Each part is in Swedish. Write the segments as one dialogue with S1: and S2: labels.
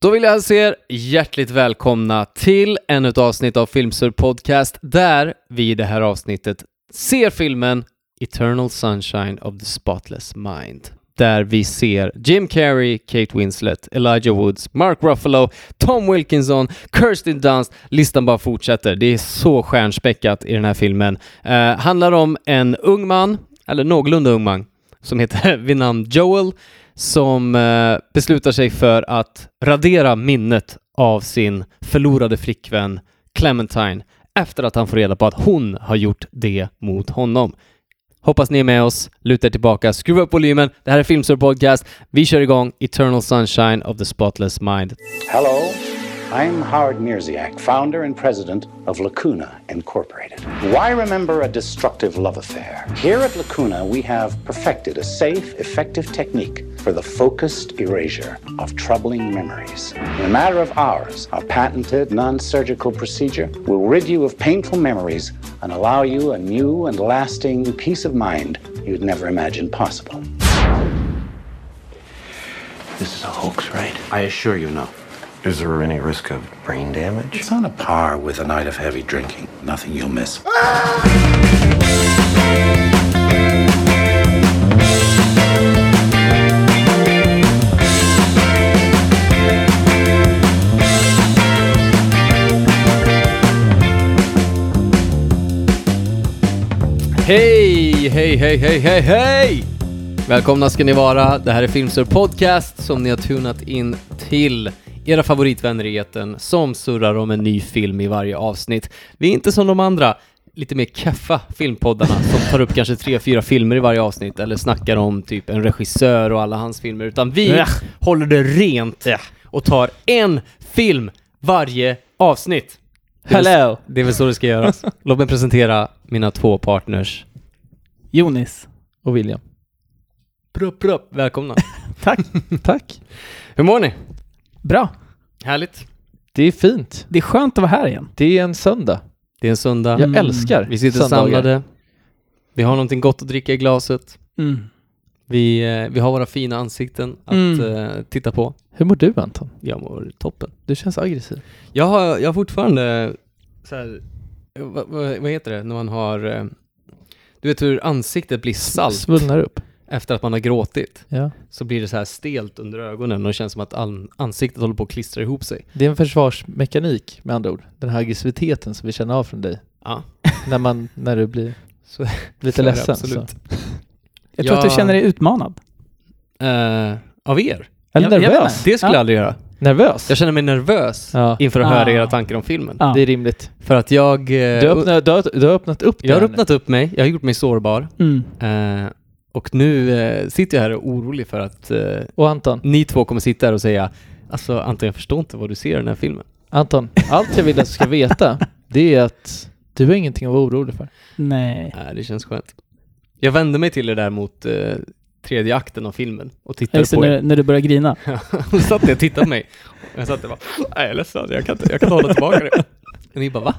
S1: Då vill jag hälsa er hjärtligt välkomna till ännu ett avsnitt av Filmsur Podcast där vi i det här avsnittet ser filmen Eternal Sunshine of the Spotless Mind. Där vi ser Jim Carrey, Kate Winslet, Elijah Woods, Mark Ruffalo, Tom Wilkinson, Kirsten Dunst. Listan bara fortsätter. Det är så stjärnspäckat i den här filmen. Eh, handlar om en ung man, eller någorlunda ung man, som heter vid namn Joel som eh, beslutar sig för att radera minnet av sin förlorade flickvän Clementine efter att han får reda på att hon har gjort det mot honom. Hoppas ni är med oss, luta er tillbaka, skruva upp volymen. Det här är Filmsur Podcast. Vi kör igång Eternal Sunshine of the Spotless Mind.
S2: Hello, I'm Howard Mirziak, founder and president of Lacuna Incorporated. Why remember a destructive love affair? Here at Lacuna, we have perfected a safe, effective technique for the focused erasure of troubling memories. In a matter of hours, our patented non surgical procedure will rid you of painful memories and allow you a new and lasting peace of mind you'd never imagined possible.
S3: This is a hoax, right?
S2: I assure you, no.
S3: Is there any risk of brain damage?
S2: It's on a par with a night of heavy drinking. Nothing you'll miss.
S1: Hej, hej, hej, hej, hej, hej! Välkomna ska ni vara. Det här är Filmsur Podcast som ni har tunat in till era favoritvänner i etern som surrar om en ny film i varje avsnitt. Vi är inte som de andra lite mer keffa filmpoddarna som tar upp kanske tre, fyra filmer i varje avsnitt eller snackar om typ en regissör och alla hans filmer, utan vi
S4: Ja.
S1: håller det rent och tar en film varje avsnitt. Det är väl-
S4: Hello.
S1: Det är väl så det ska göras. Låt mig presentera mina två partners
S4: Jonis.
S1: och William. Prupp, prupp. Välkomna.
S4: Tack. Tack.
S1: Hur mår ni?
S4: Bra.
S1: Härligt.
S5: Det är fint.
S4: Det är skönt att vara här igen.
S5: Det är en söndag.
S1: Det är en söndag.
S5: Jag älskar
S1: Vi sitter
S5: söndagar.
S1: samlade. Vi har någonting gott att dricka i glaset. Vi, eh, vi har våra fina ansikten att
S4: Mm.
S1: eh, titta på.
S5: Hur mår du Anton?
S1: Jag mår toppen.
S5: Du känns aggressiv.
S1: Jag har, jag har fortfarande så här, eh, vad, vad, vad heter det när man har eh, du vet hur ansiktet blir salt
S5: Svullnar upp.
S1: efter att man har gråtit.
S5: Ja.
S1: Så blir det så här stelt under ögonen och det känns som att an- ansiktet håller på att klistra ihop sig.
S5: Det är en försvarsmekanik med andra ord. Den här aggressiviteten som vi känner av från dig.
S1: Ja.
S5: när, man, när du blir
S1: Så-
S5: lite
S1: så är det
S5: ledsen.
S1: absolut.
S5: Så.
S4: Jag tror
S1: Ja.
S4: att du känner dig utmanad.
S1: Eh, av er?
S5: Eller
S4: Jag- jag vet
S5: nervös.
S4: inte.
S1: Det skulle
S4: Ja.
S1: jag aldrig göra.
S5: nervös.
S1: Jag känner mig nervös
S5: Ja.
S1: inför att
S4: Ah.
S1: höra era tankar om filmen.
S4: Ja.
S5: Det är rimligt.
S1: För att jag... eh,
S5: Du, öppnar, du, har, du har öppnat upp det
S1: jag har
S5: här nu.
S1: öppnat upp mig, jag har gjort mig sårbar.
S4: Mm.
S1: Eh, och nu eh, sitter jag här och är orolig för att eh,
S5: Och Anton,
S1: ni två kommer sitta här och säga Alltså Anton, jag förstår inte vad du ser i den här filmen.
S5: Anton, allt jag vill att du ska veta det är att du har ingenting att vara orolig för.
S4: Nej.
S1: Nej, det känns skönt. Jag vände mig till er där mot eh, tredje akten av filmen och
S4: Jag
S1: tittade
S4: just det,
S1: på er.
S4: när, när du börjar grina.
S1: Hon satt där och tittade på mig. Och jag satt där och bara, nej jag är ledsen, jag kan inte, jag kan inte hålla tillbaka det. Och ni bara, va?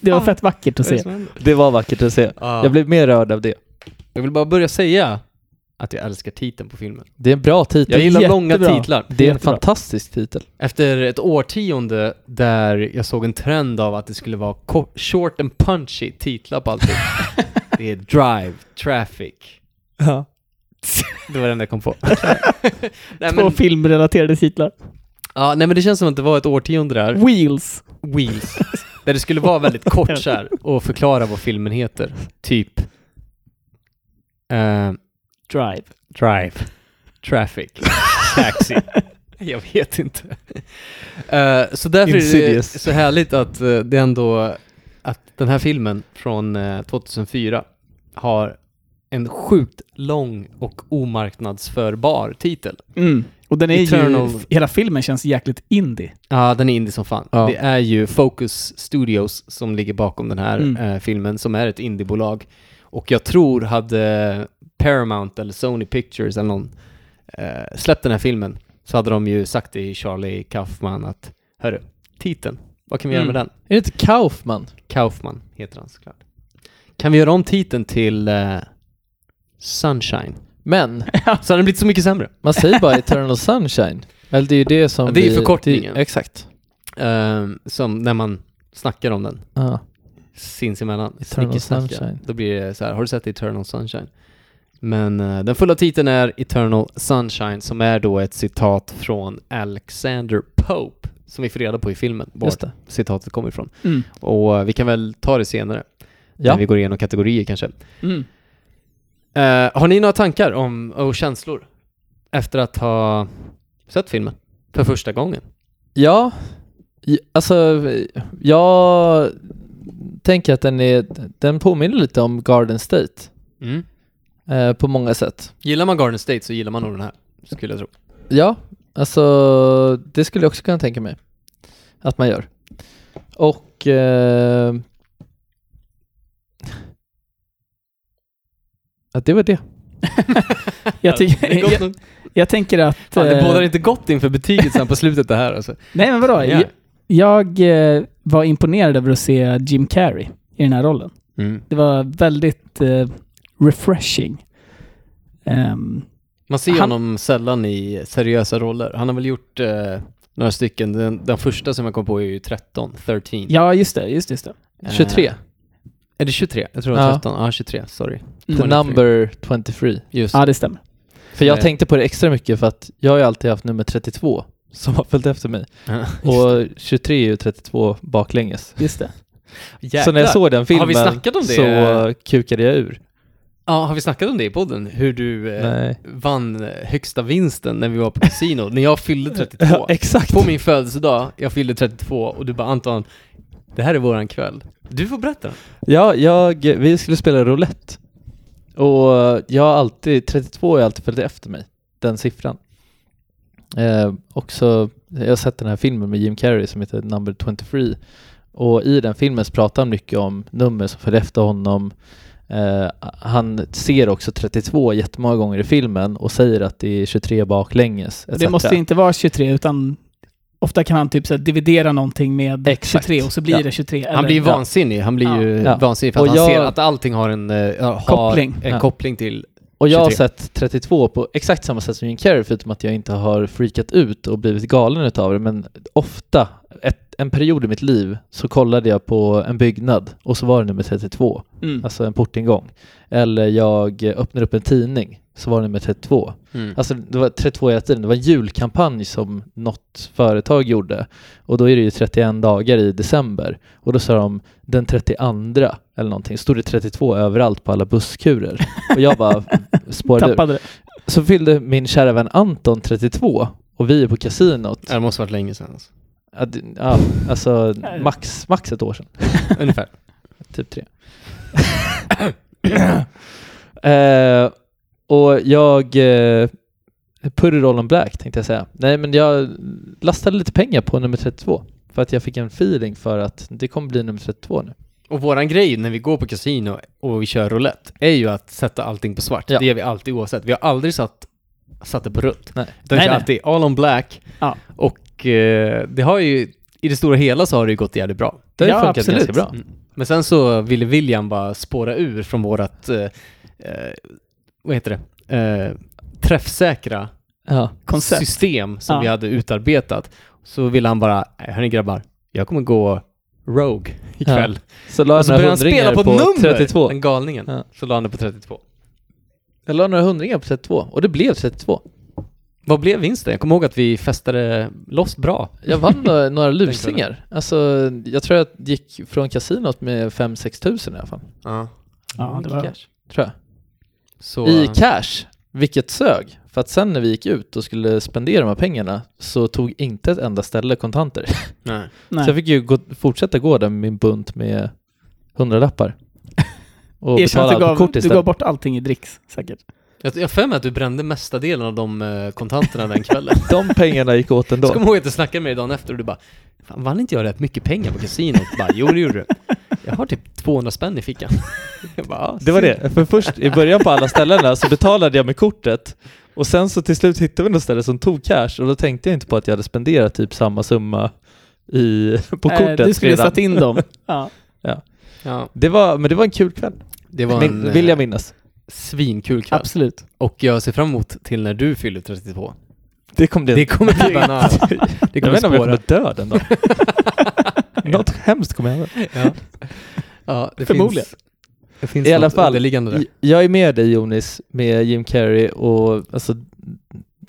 S4: Det var fett vackert att
S1: Vad är det
S4: se.
S1: som händer?
S5: Det var vackert att se.
S1: Ja.
S5: Jag blev mer rörd av det.
S1: Jag vill bara börja säga att jag älskar titeln på filmen.
S5: Det är en bra titel.
S1: Jag gillar
S4: jättebra.
S1: långa titlar.
S5: Det är en
S4: Jättebra.
S5: fantastisk titel.
S1: Efter ett årtionde där jag såg en trend av att det skulle vara ko- short and punchy titlar på allting. det är Drive, Traffic.
S4: Ja.
S1: Det var den jag kom på. nej,
S4: Två
S1: men,
S4: filmrelaterade titlar.
S1: ja, nej men det känns som att det var ett årtionde där,
S4: Wheels.
S1: Wheels, där det skulle vara väldigt kort så här och förklara vad filmen heter. Typ eh,
S4: Drive.
S1: Drive, Traffic, Taxi. Jag vet inte. Eh, så därför är det
S5: Insidious.
S1: så härligt att eh, det ändå, att den här filmen från eh, 2004 har en sjukt lång och omarknadsförbar titel.
S4: Mm. Och den är
S1: Eternal.
S4: ju... Hela filmen känns jäkligt indie.
S1: Ja, den är indie som fan.
S5: Ja.
S1: Det är ju Focus Studios som ligger bakom den här
S4: Mm.
S1: eh, filmen, som är ett indiebolag. Och jag tror hade Paramount eller Sony Pictures eller någon eh, släppt den här filmen, så hade de ju sagt till Charlie Kaufman att Hörru, titeln, vad kan vi göra
S4: Mm.
S1: med den?
S5: Är det inte Kaufman?
S1: Kaufman heter han såklart. Kan vi göra om titeln till eh, Sunshine?
S5: Men
S1: Så hade den blivit så mycket sämre.
S5: man säger bara Eternal Sunshine. Eller det är ju det som
S1: Ja, det är ju
S5: vi-
S1: förkortningen.
S5: det- Exakt.
S1: Ehm, som när man snackar om den
S5: Ja.
S1: sinsemellan.
S5: Eternal
S1: Snickesnacka.
S5: Sunshine.
S1: Då blir det så här, har du sett Eternal Sunshine? Men eh, den fulla titeln är Eternal Sunshine som är då ett citat från Alexander Pope som vi får reda på i filmen var
S5: Just det.
S1: citatet kommer ifrån.
S4: Mm.
S1: Och eh, vi kan väl ta det senare
S5: Ja.
S1: när vi går igenom kategorier kanske.
S4: Mm.
S1: Eh, har ni några tankar om, och känslor efter att ha sett filmen för första gången?
S5: Ja, i- alltså jag tänker att den, är, den påminner lite om Garden State eh, på många sätt.
S1: Gillar man Garden State så gillar man nog den här, skulle jag tro.
S5: Ja, alltså det skulle jag också kunna tänka mig att man gör. Och eh, ja, det var det.
S4: Jag, tycker-
S1: Det är gott
S4: jag,
S1: nog.
S4: jag tänker att...
S1: Fan, det
S4: eh,
S1: bådar inte gott inför betyget sen på slutet det här alltså.
S4: Nej men vadå?
S1: Ja.
S4: Jag, jag eh, var imponerad över att se Jim Carrey i den här rollen.
S1: Mm.
S4: Det var väldigt eh, refreshing. Ehm,
S1: Man ser
S4: Han-
S1: honom sällan i seriösa roller. Han har väl gjort eh, några stycken. Den, den första som jag kom på är ju 13, 13.
S4: ja, just det. Just, det, just det.
S1: Eh,
S5: 23.
S1: Är det 23? Jag tror det
S5: Ja.
S1: var 13. Ja, 23. Sorry.
S5: The
S1: 23.
S5: number 23.
S1: Just.
S4: Ja, det stämmer.
S5: För jag
S1: Nej.
S5: tänkte på det extra mycket för att jag har ju alltid haft nummer 32 som har följt efter mig.
S1: Ja.
S5: Och 23 är ju 32 baklänges.
S4: Just det.
S5: Så när jag såg den filmen
S1: Har vi snackat om det?
S5: så kukade jag ur.
S1: Ja, har vi snackat om det i podden? Hur du eh,
S5: Nej.
S1: vann eh, högsta vinsten när vi var på kasino, när jag fyllde 32.
S5: Ja, exakt.
S1: På min födelsedag, jag fyllde 32 och du bara Anton, det här är våran kväll. Du får berätta.
S5: Ja, jag, vi skulle spela roulette. Och jag har alltid, 32 har jag alltid följt efter mig, den siffran. Eh, och så, jag har sett den här filmen med Jim Carrey som heter Number 23. Och i den filmen så pratar han mycket om nummer som följer efter honom. Eh, han ser också 32 jättemånga gånger i filmen och säger att det är 23 baklänges.
S4: Och Det
S5: etc.
S4: måste inte vara 23 utan ofta kan han typ så här dividera någonting med
S5: Exakt.
S4: 23 och så blir
S5: Ja.
S4: det 23.
S1: Han blir
S4: eller-
S1: vansinnig, han blir
S4: Ja.
S1: ju
S5: Ja.
S1: vansinnig för att
S5: Och
S1: han
S5: jag-
S1: ser att allting har en, eh, har
S4: Koppling.
S1: en
S5: Ja.
S1: koppling till...
S5: Och jag har
S1: 23.
S5: sett 32 på exakt samma sätt som Jim Carrey förutom att jag inte har freakat ut och blivit galen utav det men ofta, ett, en period i mitt liv så kollade jag på en byggnad och så var det nummer 32,
S4: Mm.
S5: alltså en portingång. Eller jag öppnade upp en tidning så var det nummer 32.
S1: Mm.
S5: Alltså det var 32 hela tiden, det var en julkampanj som något företag gjorde och då är det ju 31 dagar i december och då sa de den 32 eller någonting, stod det 32 överallt på alla busskurer och jag bara spårade ur.
S4: Tappade det.
S5: Så fyllde min kära vän Anton 32 och vi är på kasinot,
S1: Ja, det måste varit länge sedan alltså.
S5: ja. det- ja, alltså max, max ett år sedan.
S1: Ungefär.
S5: Typ tre. eh, och jag... Eh, put it all on black tänkte jag säga. Nej men jag lastade lite pengar på nummer 32. För att jag fick en feeling för att det kommer bli nummer 32 nu.
S1: Och våran grej när vi går på kasino och vi kör roulette är ju att sätta allting på svart.
S5: Ja.
S1: Det gör vi alltid oavsett. Vi har aldrig satt, satt det på rött.
S5: Nej.
S1: Utan vi
S4: Nej,
S1: kör
S4: nej.
S1: alltid all on black.
S4: Ja.
S1: Och eh, det har ju, i det stora hela så har det ju gått jävligt bra.
S5: Det har ju
S4: Ja,
S5: funkat
S4: absolut.
S5: ganska bra.
S1: Mm. Men sen så ville William bara spåra ur från vårat, eh, eh, vad heter det, eh, träffsäkra
S5: Ja.
S4: Koncept.
S1: system som
S4: Ja.
S1: vi hade utarbetat. Så ville han bara, "Nej, hörni grabbar, jag kommer gå rogue ikväll.
S5: Så la
S1: Och
S5: jag
S1: så
S5: några
S1: började han
S5: hundringar
S1: spela på,
S5: på,
S1: ett nummer,
S5: 32.
S1: den galningen.
S5: Ja.
S1: Så la han det på 32.
S5: Jag la några hundringar på 32 och det blev 32.
S1: Vad blev vinsten? Jag kommer ihåg att vi festade loss bra.
S5: Jag vann några, några lusingar. Alltså jag tror jag gick från kasinot med 5-6 tusen i alla fall.
S1: Ja.
S4: Ja, det var...
S5: Tror jag.
S1: Så, eh,
S5: I cash, vilket sög. För att sen när vi gick ut och skulle spendera de här pengarna så tog inte ett enda ställe kontanter.
S1: nej.
S5: Så jag
S4: Nej.
S5: fick ju gå, fortsätta gå där med min bunt med hundralappar. Och
S4: Erkänn
S5: betala
S4: att du
S5: allt på
S4: gav,
S5: kort
S4: du gav
S5: istället.
S4: bort allting i dricks, säkert.
S1: Jag jag har för mig att du brände mesta delen av de eh, kontanterna den kvällen.
S5: De pengarna gick åt
S1: Så
S5: ändå.
S1: kommer jag ihåg att du snackade med dig dagen efter och du bara Fan, vann inte jag rätt mycket pengar på kasinot? Bara, jo det gjorde du. Jag har typ 200 spänn i fickan. Jag bara, "Ja,
S5: Det var
S4: Eh,
S5: det. För först i början på alla ställena så betalade jag med kortet och sen så till slut hittade vi något ställe som tog cash och då tänkte jag inte på att jag hade spenderat typ samma summa i, på
S4: Eh,
S5: kortet
S4: du skulle
S5: redan.
S4: satt in dem. ja.
S1: Ja,
S5: Det var, men det var en kul kväll,
S1: det var
S5: Min,
S1: en
S5: vill jag
S1: eh,
S5: minnas.
S1: svinkul kväll.
S4: Absolut.
S1: Och jag ser fram emot till när du fyller 32.
S5: Det kom dit.
S1: Det kommer bli...
S5: Banan.
S1: Det kommer
S5: Jag vet inte om jag
S1: spåra.
S5: kommer dö den dagen. Något hemskt kommer hända.
S1: Ja. Ja, det
S5: Förmodligen.
S1: Finns, det finns
S5: I alla fall,
S1: underliggande där.
S5: J- Jag är med dig Jonis med Jim Carrey och alltså,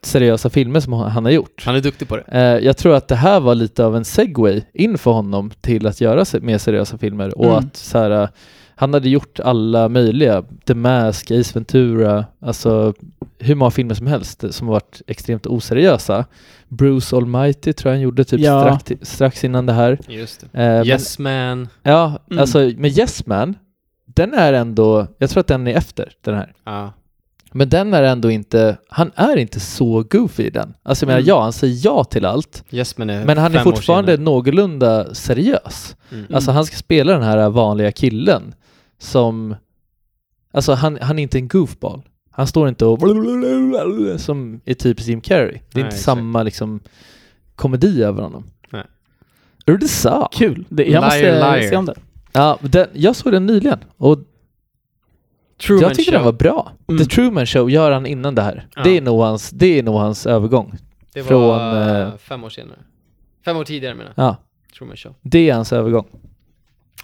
S5: seriösa filmer som han har gjort.
S1: Han är duktig på det.
S5: Eh, Jag tror att det här var lite av en segway in för honom till att göra se- mer seriösa filmer och
S4: Mm.
S5: att så här, eh, han hade gjort alla möjliga, The Mask, Ace Ventura, alltså hur många filmer som helst som har varit extremt oseriösa. Bruce Almighty tror jag han gjorde typ
S4: Ja.
S5: strax, strax innan det här.
S1: Just det.
S5: Eh, men-
S1: Yes man.
S5: Ja,
S4: Mm.
S5: alltså med Yes Man, den är ändå, jag tror att den är efter den här.
S1: Ja.
S5: Men den är ändå inte, han är inte så goofy i den. Alltså jag menar
S4: Mm.
S5: ja, han säger ja till allt,
S1: Yes man är
S5: men han är
S1: Eh, fem år
S5: fortfarande
S1: senare.
S5: någorlunda seriös.
S1: Mm.
S5: Alltså han ska spela den här vanliga killen som, alltså han, han är inte en goofball. Han står inte och som är typ Jim Carrey. Det är
S1: Nej,
S5: inte
S1: exakt.
S5: samma liksom komedi över honom.
S1: Nej.
S5: Är det så?
S4: Kul. Det, jag
S1: Liar,
S4: måste
S1: liar.
S4: se om det.
S5: Ja, den, jag såg den nyligen och
S1: Truman
S5: jag tyckte
S1: Show.
S5: den var bra.
S4: Mm.
S5: The Truman Show gör han innan det här.
S1: Ja.
S5: Det, är nog hans, det är nog hans övergång.
S1: Det var
S5: från,
S1: eh,
S5: eh,
S1: fem år senare. Fem år tidigare menar jag.
S5: Ja,
S1: Truman Show.
S5: det är hans övergång.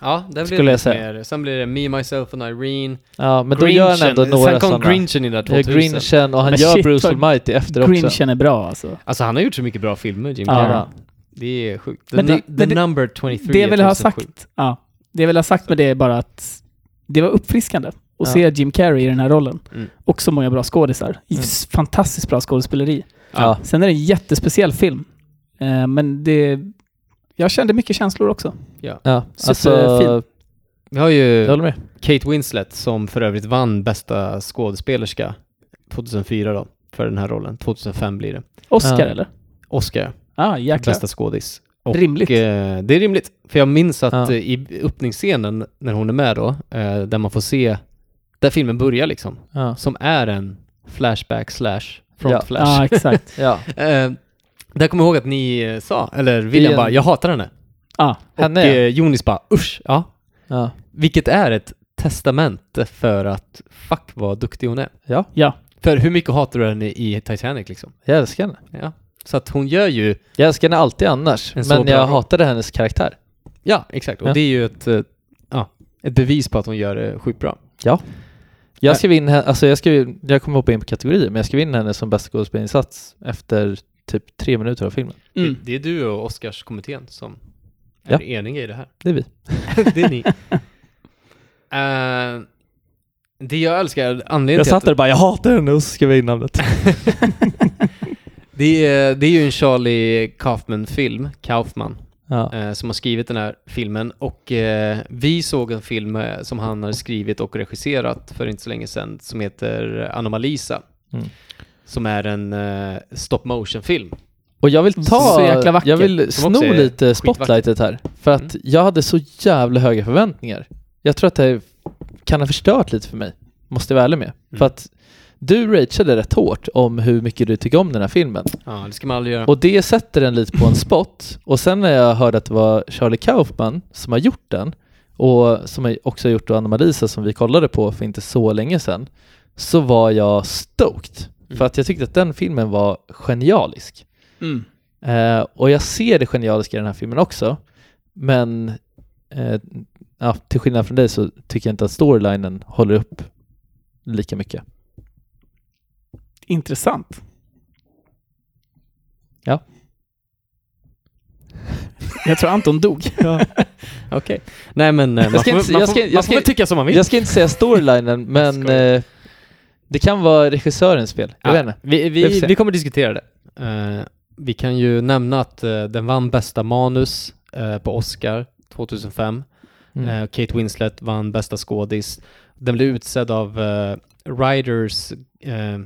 S1: Ja, det
S5: Skulle
S1: blir
S5: jag
S1: lite
S5: säga.
S1: mer. Sen blir det Me, Myself and Irene.
S5: Ja, men då
S1: Grinchen.
S5: gör han ändå några
S1: Sen kom
S5: sådana.
S1: Grinchen i där 2000.
S5: Grinchen och han
S4: Men
S5: gör
S4: shit,
S5: Bruce
S4: vad-
S5: Almighty efter också.
S4: Grinchen är bra alltså.
S1: Alltså han har gjort så mycket bra filmer, Jim
S4: Ja.
S1: Carrey.
S5: Ja.
S1: Det är sjukt. The,
S4: Men det-
S1: nu-
S4: men
S1: the
S4: det-
S1: number 23
S4: Det jag ville ha
S1: 2007.
S4: sagt, ja, det jag ville ha sagt med det är bara att det var uppfriskande att
S5: Ja.
S4: se Jim Carrey i den här rollen.
S1: Mm.
S4: Och så många bra skådisar.
S5: Mm.
S4: Fantastiskt bra skådespeleri.
S5: Ja.
S4: Sen är det en jättespeciell film. Eh, men det... Jag kände mycket känslor också.
S5: Ja, alltså,
S4: Superfin.
S1: Vi har ju
S5: jag håller med.
S1: Kate Winslet som för övrigt vann bästa skådespelerska 2004 då, för den här rollen. 2005 blir det.
S4: Oscar
S5: Ja.
S4: eller?
S1: Oscar,
S4: Ah, jäklar.
S1: bästa skådis.
S4: Rimligt.
S1: eh, det är rimligt. För jag minns att
S5: Ja.
S1: eh, i öppningsscenen när hon är med då, eh, där man får se, där filmen börjar liksom,
S5: Ja.
S1: som är en flashback slash front
S5: Ja.
S1: flash.
S4: Ja, Ah, exakt.
S5: Ja.
S1: Eh, där kommer jag ihåg att ni eh, sa, eller William
S5: en-
S1: bara, jag hatar henne.
S4: Ah,
S5: Henne,
S1: och
S5: ja.
S1: eh, Jonis bara, usch, ja.
S5: Ja.
S1: Vilket är ett testamente för att fuck vad duktig hon är.
S5: ja,
S1: För hur mycket hatar du henne i Titanic liksom?
S5: jag älskar henne.
S1: Ja. Så att hon gör ju,
S5: Jag älskar henne alltid annars,
S1: En så
S5: men
S1: bra
S5: jag
S1: roll.
S5: hatade hennes karaktär.
S1: ja exakt, och
S5: Ja.
S1: det är ju ett, eh, ja, ett bevis på att hon gör det sjukt bra.
S5: Jag skrev in henne, alltså jag skrev, jag kommer hoppa in på kategorier, men jag skrev in henne som bästa skådespelarinsats efter typ tre minuter av filmen.
S1: Det,
S4: Mm.
S1: det är du och Oscarskommittén som är
S5: Ja.
S1: eniga i det här.
S5: Det är vi.
S1: det är ni. Eh, det jag älskar, anledningen
S5: Jag
S1: till
S5: satt
S1: att
S5: där och bara, jag hatar henne och så skrev jag in namnet.
S1: det är, det är ju en Charlie Kaufman-film, Kaufman,
S5: Ja.
S1: eh, som har skrivit den här filmen och eh, vi såg en film eh, som han har skrivit och regisserat för inte så länge sedan som heter Anomalisa.
S5: Mm.
S1: Som är en eh, stop motion-film.
S5: Och jag vill ta,
S4: Så jäkla vacker.
S5: jag vill
S1: Som också
S5: sno
S1: är
S5: lite
S1: skitvacker.
S5: spotlightet här. För att
S1: Mm.
S5: jag hade så jävla höga förväntningar. Jag tror att det kan ha förstört lite för mig. Måste jag vara ärlig med.
S1: Mm.
S5: För att du rageade rätt hårt om hur mycket du tycker om den här filmen.
S1: Ja, det ska man aldrig göra.
S5: Och det sätter den lite på en spot. Och sen när jag hörde att det var Charlie Kaufman som har gjort den och som har också har gjort då Anna-Malisa som vi kollade på för inte så länge sedan så var jag stoked.
S1: Mm.
S5: För att jag tyckte att den filmen var genialisk.
S4: Mm.
S5: Eh, och jag ser det genialiska i den här filmen också, men eh, ja, till skillnad från dig så tycker jag inte att storylinen håller upp lika mycket.
S4: Intressant.
S5: Ja.
S4: Jag tror Anton dog. Ah,
S1: Okej. Nej men eh, man
S5: ska
S1: får-
S5: inte-
S1: man
S5: jag ska-
S1: får-
S5: jag
S1: man får
S5: ska-
S1: väl tycka som man vill.
S5: Jag ska inte säga storylinen, men
S1: skojar.
S5: eh, det kan vara regissörens fel. Jag
S1: Ja,
S5: vet inte.
S1: Vi,
S5: Vi får
S1: vi,
S5: se.
S1: vi kommer diskutera det. Eh, vi kan ju nämna att eh, den vann bästa manus eh, på Oscar 2005.
S5: Mm.
S1: Eh, Kate Winslet vann bästa skådis. Den blev utsedd av eh, Writers eh,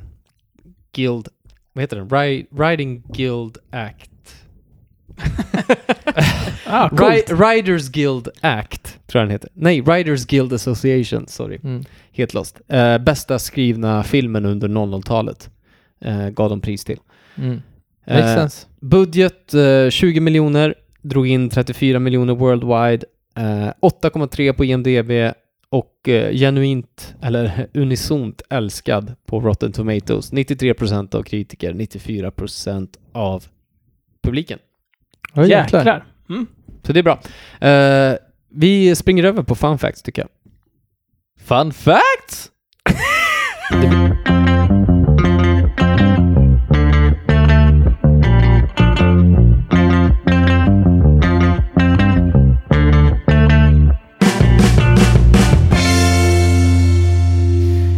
S1: Guild, vad heter den? Ri- Writing Guild Act.
S4: Ah,
S1: Ri-
S4: coolt.
S1: Writers Guild Act, tror jag den heter. Nej, Writers Guild Association, sorry.
S5: Mm.
S1: Helt lost. Eh, bästa skrivna filmen under 00-talet eh, gav de pris till.
S5: Mm. Makes
S1: Eh,
S5: sense.
S1: Budget eh, 20 miljoner, drog in 34 miljoner worldwide, eh, 8,3 på IMDB och eh, genuint eller unisont älskad på Rotten Tomatoes. 93% av kritiker, 94% av publiken.
S5: Ja,
S4: Jäklar. Mm.
S1: Så det är bra. Eh, vi springer över på fun facts tycker jag. Fun facts!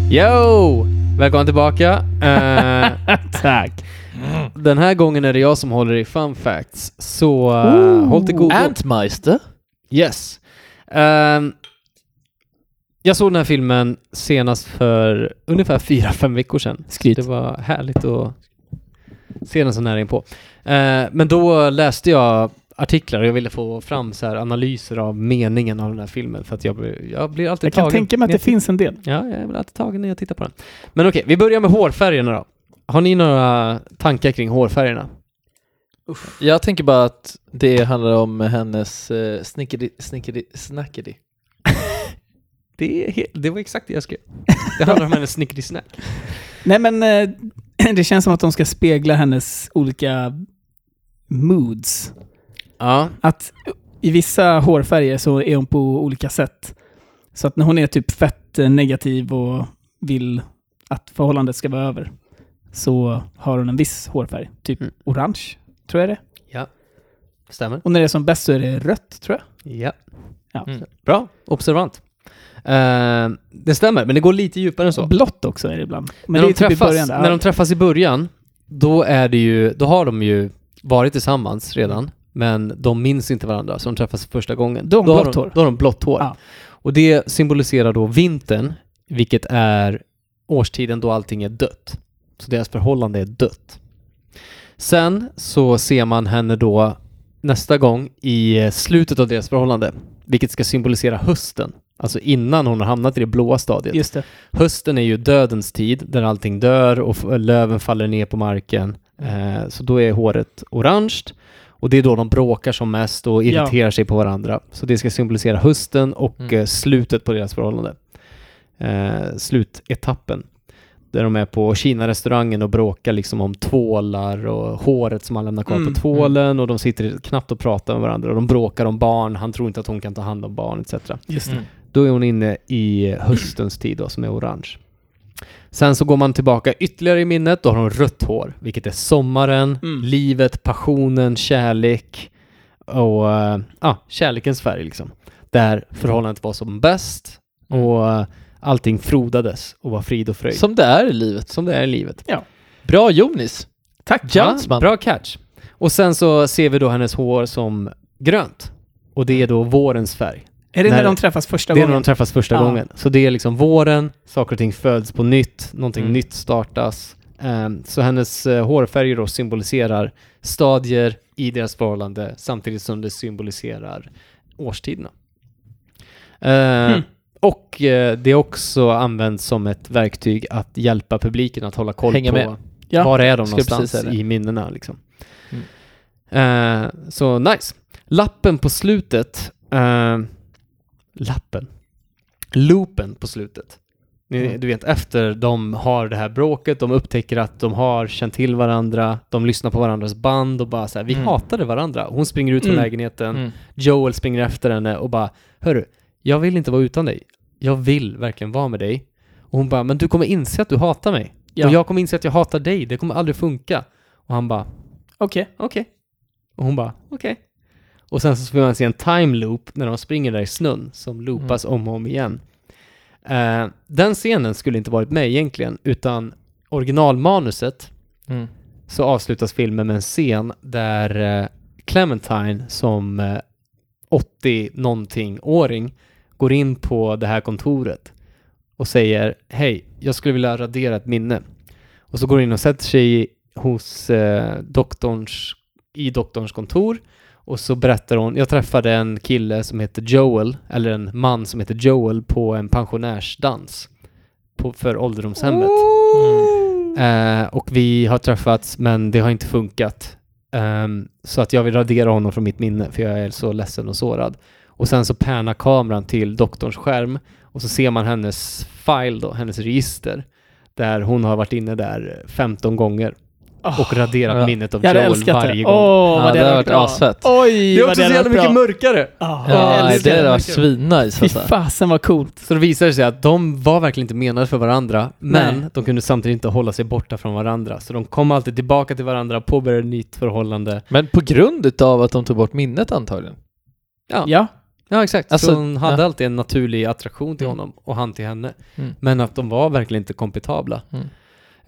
S1: Yo! Välkommen tillbaka. Eh,
S4: Tack.
S1: den här gången är det jag som håller i fun facts. Så eh, håll till godo.
S5: Antmeister.
S1: Yes. Ehm, jag såg den här filmen senast för ungefär fyra fem veckor sedan.
S4: Skryt.
S1: Det var härligt att se den så nära inpå. Eh, men då läste jag artiklar och jag ville få fram så här analyser av meningen av den här filmen för att jag, blir- jag blir alltid
S4: Jag kan
S1: tagen.
S4: tänka mig att
S1: när
S4: det finns en del.
S1: jag- Ja, jag blir alltid tagen när jag tittar på den. Men okej, vi börjar med hårfärgerna då. Har ni några tankar kring hårfärgerna?
S5: Jag tänker bara att det handlar om hennes eh, snickeri, snickeri, snackeri.
S1: Det, är helt- det var exakt det jag skrev. Det handlar om hennes snickerisnack.
S4: Nej men eh, det känns som att de ska spegla hennes olika moods.
S1: Ja,
S4: Att i vissa hårfärger så är hon på olika sätt. Så att när hon är typ fett eh, negativ och vill att förhållandet ska vara över så har hon en viss hårfärg. Typ
S1: Mm.
S4: orange, tror jag det är.
S1: stämmer.
S4: Och när det är som bäst så är det rött, tror jag.
S1: Ja.
S4: Ja.
S5: Mm.
S1: Bra, observant. Eh, det stämmer, men det går lite djupare än så.
S4: Blått också är det ibland. Men
S1: när,
S4: det är
S1: de
S4: typ
S1: träffas,
S4: i början. där.
S1: när de träffas i början, då, är det ju, då har de ju varit tillsammans redan, men de minns inte varandra, så de träffas första gången.
S4: Då har de
S1: då
S4: blått hår.
S1: Då har de blått hår.
S4: Ja.
S1: Och det symboliserar då vintern, vilket är årstiden då allting är dött. Så deras förhållande är dött. Sen så ser man henne då nästa gång i eh, slutet av deras förhållande, vilket ska symbolisera hösten. Alltså innan hon har hamnat i det blåa stadiet.
S4: Just det.
S1: Hösten är ju dödens tid, där allting dör och f- löven faller ner på marken.
S4: Mm.
S1: Eh, så då är håret orange och det är då de bråkar som mest och irriterar sig på varandra. Så det ska symbolisera hösten och
S5: Mm.
S1: eh, slutet på deras förhållande. Eh, slutetappen. Där de är på Kina-restaurangen och bråkar liksom om tvålar och håret som han lämnar kvar
S4: Mm,
S1: på tvålen och de sitter knappt och pratar med varandra och de bråkar om barn, han tror inte att hon kan ta hand om barn etc.
S4: Just det.
S5: Mm.
S1: Då är hon inne i höstens tid då, som är orange. Sen så går man tillbaka ytterligare i minnet, då har hon rött hår, vilket är sommaren,
S4: Mm.
S1: livet, passionen, kärlek och eh, ja, kärlekens färg liksom. Där förhållandet var som bäst och eh, allting frodades och var frid och fröjd. Som,
S5: Som det är i livet.
S1: som det är i livet.
S5: Bra Jonis! Tack
S1: Ja,
S5: Jansman!
S1: bra catch. Och sen så ser vi då hennes hår som grönt och det är då vårens färg.
S4: Är det när,
S1: När-
S4: de träffas första
S1: Det är när
S4: gången?
S1: de träffas första
S4: Ja.
S1: gången. Så det är liksom våren, saker och ting föds på nytt, någonting
S5: Mm.
S1: nytt startas. Ehm, så hennes eh, hårfärger då symboliserar stadier i deras förhållande samtidigt som det symboliserar årstiderna. Ehm,
S4: Hmm.
S1: Och eh, det är också används som ett verktyg att hjälpa publiken att hålla koll
S5: Hänga
S1: på
S5: med.
S4: Ja,
S1: var är de
S5: skulle precis
S1: någonstans
S5: säga det. Mm.
S1: i minnena liksom. Eh, så nice. Lappen på slutet. eh, lappen. Loopen på slutet. Ni,
S5: Mm.
S1: Du vet, efter de har det här bråket, de upptäcker att de har känt till varandra, de lyssnar på varandras band och bara så här, vi
S5: Mm.
S1: hatade varandra. Hon springer ut från
S4: Mm.
S1: lägenheten,
S5: Mm.
S1: Joel springer efter henne och bara, hörru, jag vill inte vara utan dig. Jag vill verkligen vara med dig. Och hon bara, men du kommer inse att du hatar mig.
S4: Ja.
S1: Och jag kommer inse att jag hatar dig, det kommer aldrig funka. Och han bara,
S4: okej.
S1: okej. Och hon bara, okej. Och sen så får man se en time loop när de springer där i snön som loopas
S4: Mm.
S1: om och om igen. Eh, den scenen skulle inte varit med egentligen, utan originalmanuset
S5: Mm.
S1: så avslutas filmen med en scen där eh, Clementine som eh, 80-någonting-åring går in på det här kontoret och säger hej, jag skulle vilja radera ett minne. Och så går hon in och sätter sig i- hos eh, doktorns, i doktorns kontor och så berättar hon, jag träffade en kille som heter Joel, eller en man som heter Joel på en pensionärsdans på, för ålderdomshemmet.
S5: Mm.
S1: Eh, och vi har träffats men det har inte funkat. Ehm, så att jag vill radera honom från mitt minne för jag är så ledsen och sårad. Och sen så pärnar kameran till doktorns skärm Och så ser man hennes file då, hennes register, där hon har varit inne där 15 gånger och raderat
S5: ja.
S1: minnet av
S4: Jag hade
S1: Joel
S4: älskat
S1: varje
S4: det. Åh,
S1: gång.
S5: Ja,
S4: vad det hade
S5: det hade
S4: varit
S5: varit
S4: bra.
S5: asfett.
S4: Oj,
S1: det är
S4: vad
S1: också
S4: det
S1: så
S4: hade
S1: jävla
S4: varit
S1: mycket
S4: bra.
S1: mörkare!
S4: Ja,
S5: Ja,
S4: jag
S5: nej,
S4: älskar
S5: det hade
S4: det.
S5: varit svinnice
S4: Fy
S5: alltså.
S4: fasen vad coolt.
S1: Så det visar det sig att de var verkligen inte menade för varandra, men
S4: Nej.
S1: de kunde samtidigt inte hålla sig borta från varandra. Så de kom alltid tillbaka till varandra, påbörjade ett nytt förhållande.
S5: Men på grund utav att de tog bort minnet antagligen.
S1: Ja, ja.
S4: Ja,
S1: exakt.
S5: Alltså,
S1: så hon hade
S5: ja.
S1: alltid en naturlig attraktion till
S5: Mm.
S1: honom och han till henne.
S5: Mm.
S1: Men att de var verkligen inte kompetabla,
S5: Mm.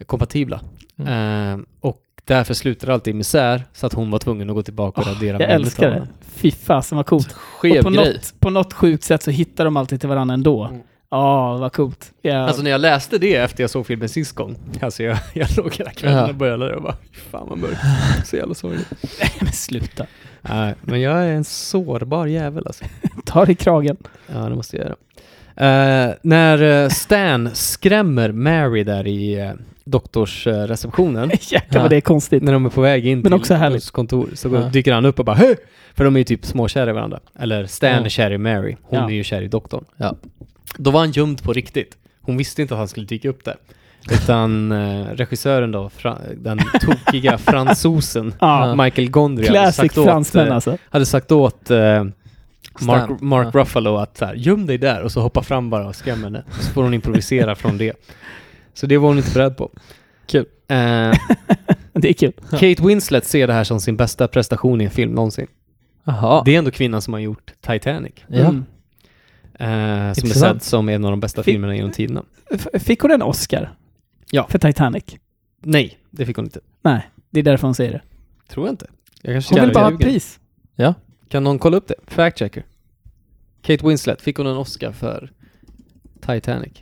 S1: kompatibla.
S5: Mm.
S1: Ehm, och därför slutade det alltid i misär, så att hon var tvungen att gå tillbaka och radera
S4: jag älskar det. Fy fasen vad coolt.
S5: Skev
S4: och på
S5: grej.
S4: något, på något sjukt sätt så hittar de alltid till varandra ändå.
S1: Mm.
S4: Ja, vad coolt. Ja.
S1: Alltså när jag läste det efter jag såg filmen sist gång, alltså jag, jag låg hela kvällen
S5: Ja.
S1: och bölade och bara, fan vad mörkt, så jävla sorgligt.
S4: men sluta.
S1: Nej, men jag är en sårbar jävel alltså.
S4: Ta dig i kragen.
S1: Ja, det måste jag göra. Eh, när eh, Stan skrämmer Mary där i uh, doktorsreceptionen,
S4: Jäklar vad det är konstigt.
S1: när de är på väg in
S4: Men
S1: till
S4: också härligt.
S1: hans kontor, så
S5: Ja.
S1: dyker han upp och bara Hö! För de är ju typ småkära i varandra. Eller Stan
S5: Ja.
S1: är kär i Mary, hon
S4: Ja.
S1: är ju kär i doktorn.
S5: Ja.
S1: Då var han gömd på riktigt. Hon visste inte att han skulle dyka upp där. Utan eh, regissören då, fra, den tokiga fransosen
S4: Ja,
S1: Michael Gondry hade
S4: classic
S1: sagt åt,
S4: fransmän
S1: eh,
S4: alltså.
S1: hade sagt åt eh, Mark,
S5: Stan.
S1: Mark
S5: Ja.
S1: Ruffalo att så här, göm dig där och så hoppa fram bara och skräm henne. Så får hon improvisera från det. Så det var hon inte beredd på.
S5: Kul.
S1: Eh,
S4: Det är kul.
S1: Kate Winslet ser det här som sin bästa prestation i en film någonsin.
S5: Jaha.
S1: Det är ändå kvinnan som har gjort Titanic.
S5: Ja.
S4: Mm.
S1: Eh, som är sedd
S5: Intressant.
S1: som en av de bästa
S4: Fi-
S1: filmerna genom tiderna.
S4: F- Fick hon en Oscar?
S1: Ja.
S4: För Titanic?
S1: Nej, det fick hon inte.
S4: Nej, det är därför hon säger det.
S1: Tror jag inte. Jag kanske
S4: Hon
S1: kan-
S4: vill bara ha ett
S1: ljuger.
S4: pris.
S1: Kan någon kolla upp det? Fact checker. Kate Winslet, fick hon en Oscar för Titanic?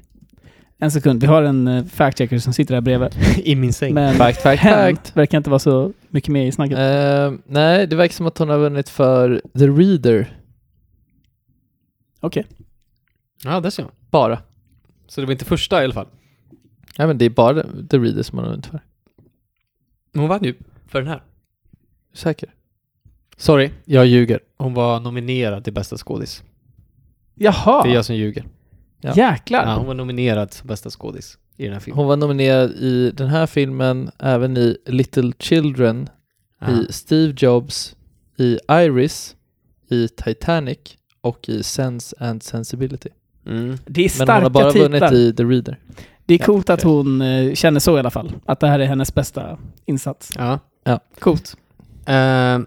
S4: En sekund, vi har en eh, fact-checker som sitter där bredvid.
S1: I min säng.
S4: Men
S5: Fact, fact,
S4: hen
S5: fact.
S4: verkar inte vara så mycket med i snacket.
S5: Eh, nej, det verkar som att hon har vunnit för The Reader
S4: Okej.
S1: Ja, där ser man.
S5: bara.
S1: Så det var inte första i alla fall.
S5: Nej men det är bara The Reader som hon har vunnit för.
S1: Men hon vann ju för den här.
S5: Säker?
S1: Sorry, jag ljuger. Hon var nominerad till bästa skådis.
S4: Jaha!
S1: Det är jag som ljuger.
S5: Ja.
S4: Jäklar!
S1: Ja, hon var nominerad som bästa skådis i den här filmen.
S5: Hon var nominerad i den här filmen, även i Little Children,
S4: Ah.
S1: Ja.
S5: i Steve Jobs, i Iris, i Titanic och i Sense and Sensibility.
S1: Mm.
S4: Det är
S5: Men hon
S4: starka
S5: har bara
S4: titlar.
S5: vunnit i The Reader.
S4: Det är coolt att
S1: okej.
S4: hon eh, känner så i alla fall. Att det här är hennes bästa insats.
S1: ja.
S4: Coolt.
S1: Ehm,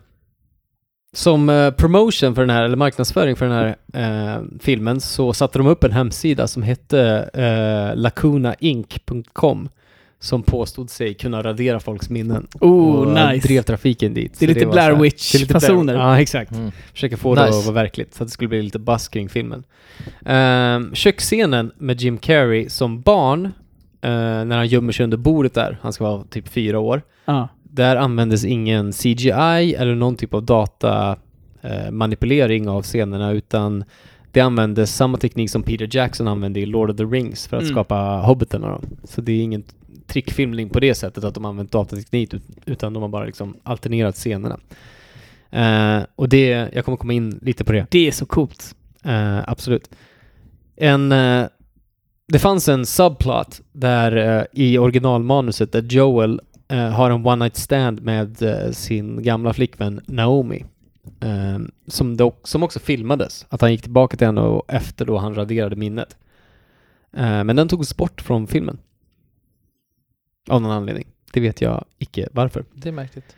S1: som eh, promotion för den här, eller marknadsföring för den här eh, filmen så satte de upp en hemsida som hette eh, lacunainc.com som påstod sig kunna radera folks minnen.
S4: Oh,
S1: och
S4: nice.
S1: drev trafiken dit.
S4: Det är
S1: Så
S4: lite
S1: var
S4: Blair
S1: så här-
S4: Witch
S1: det är lite Blair-
S4: fasoner.
S1: Ja, exakt.
S5: Mm.
S1: Försöker få det
S5: Nice.
S1: att vara verkligt, så att det skulle bli lite buzz kring filmen. Ehm, köksscenen med Jim Carrey som barn, eh, när han gömmer sig under bordet där, han ska vara typ fyra år,
S4: Ja.
S1: där användes ingen CGI eller någon typ av datamanipulering av scenerna utan det användes samma teknik som Peter Jackson använde i Lord of the Rings för att
S4: Mm.
S1: skapa Hobbiten och dem. Så det är ingen trickfilmning på det sättet att de använt datateknik ut- utan de har bara liksom alternerat scenerna. Eh, och det, jag kommer komma in lite på det.
S4: Det är så coolt.
S1: Eh, absolut. En, eh, det fanns en subplot där eh, i originalmanuset där Joel eh, har en one night stand med eh, sin gamla flickvän Naomi. Eh, som, dock, som också filmades. Att han gick tillbaka till henne och efter då han raderade minnet. Eh, men den togs bort från filmen. Av någon anledning. Det vet jag icke varför.
S5: Det är märkligt.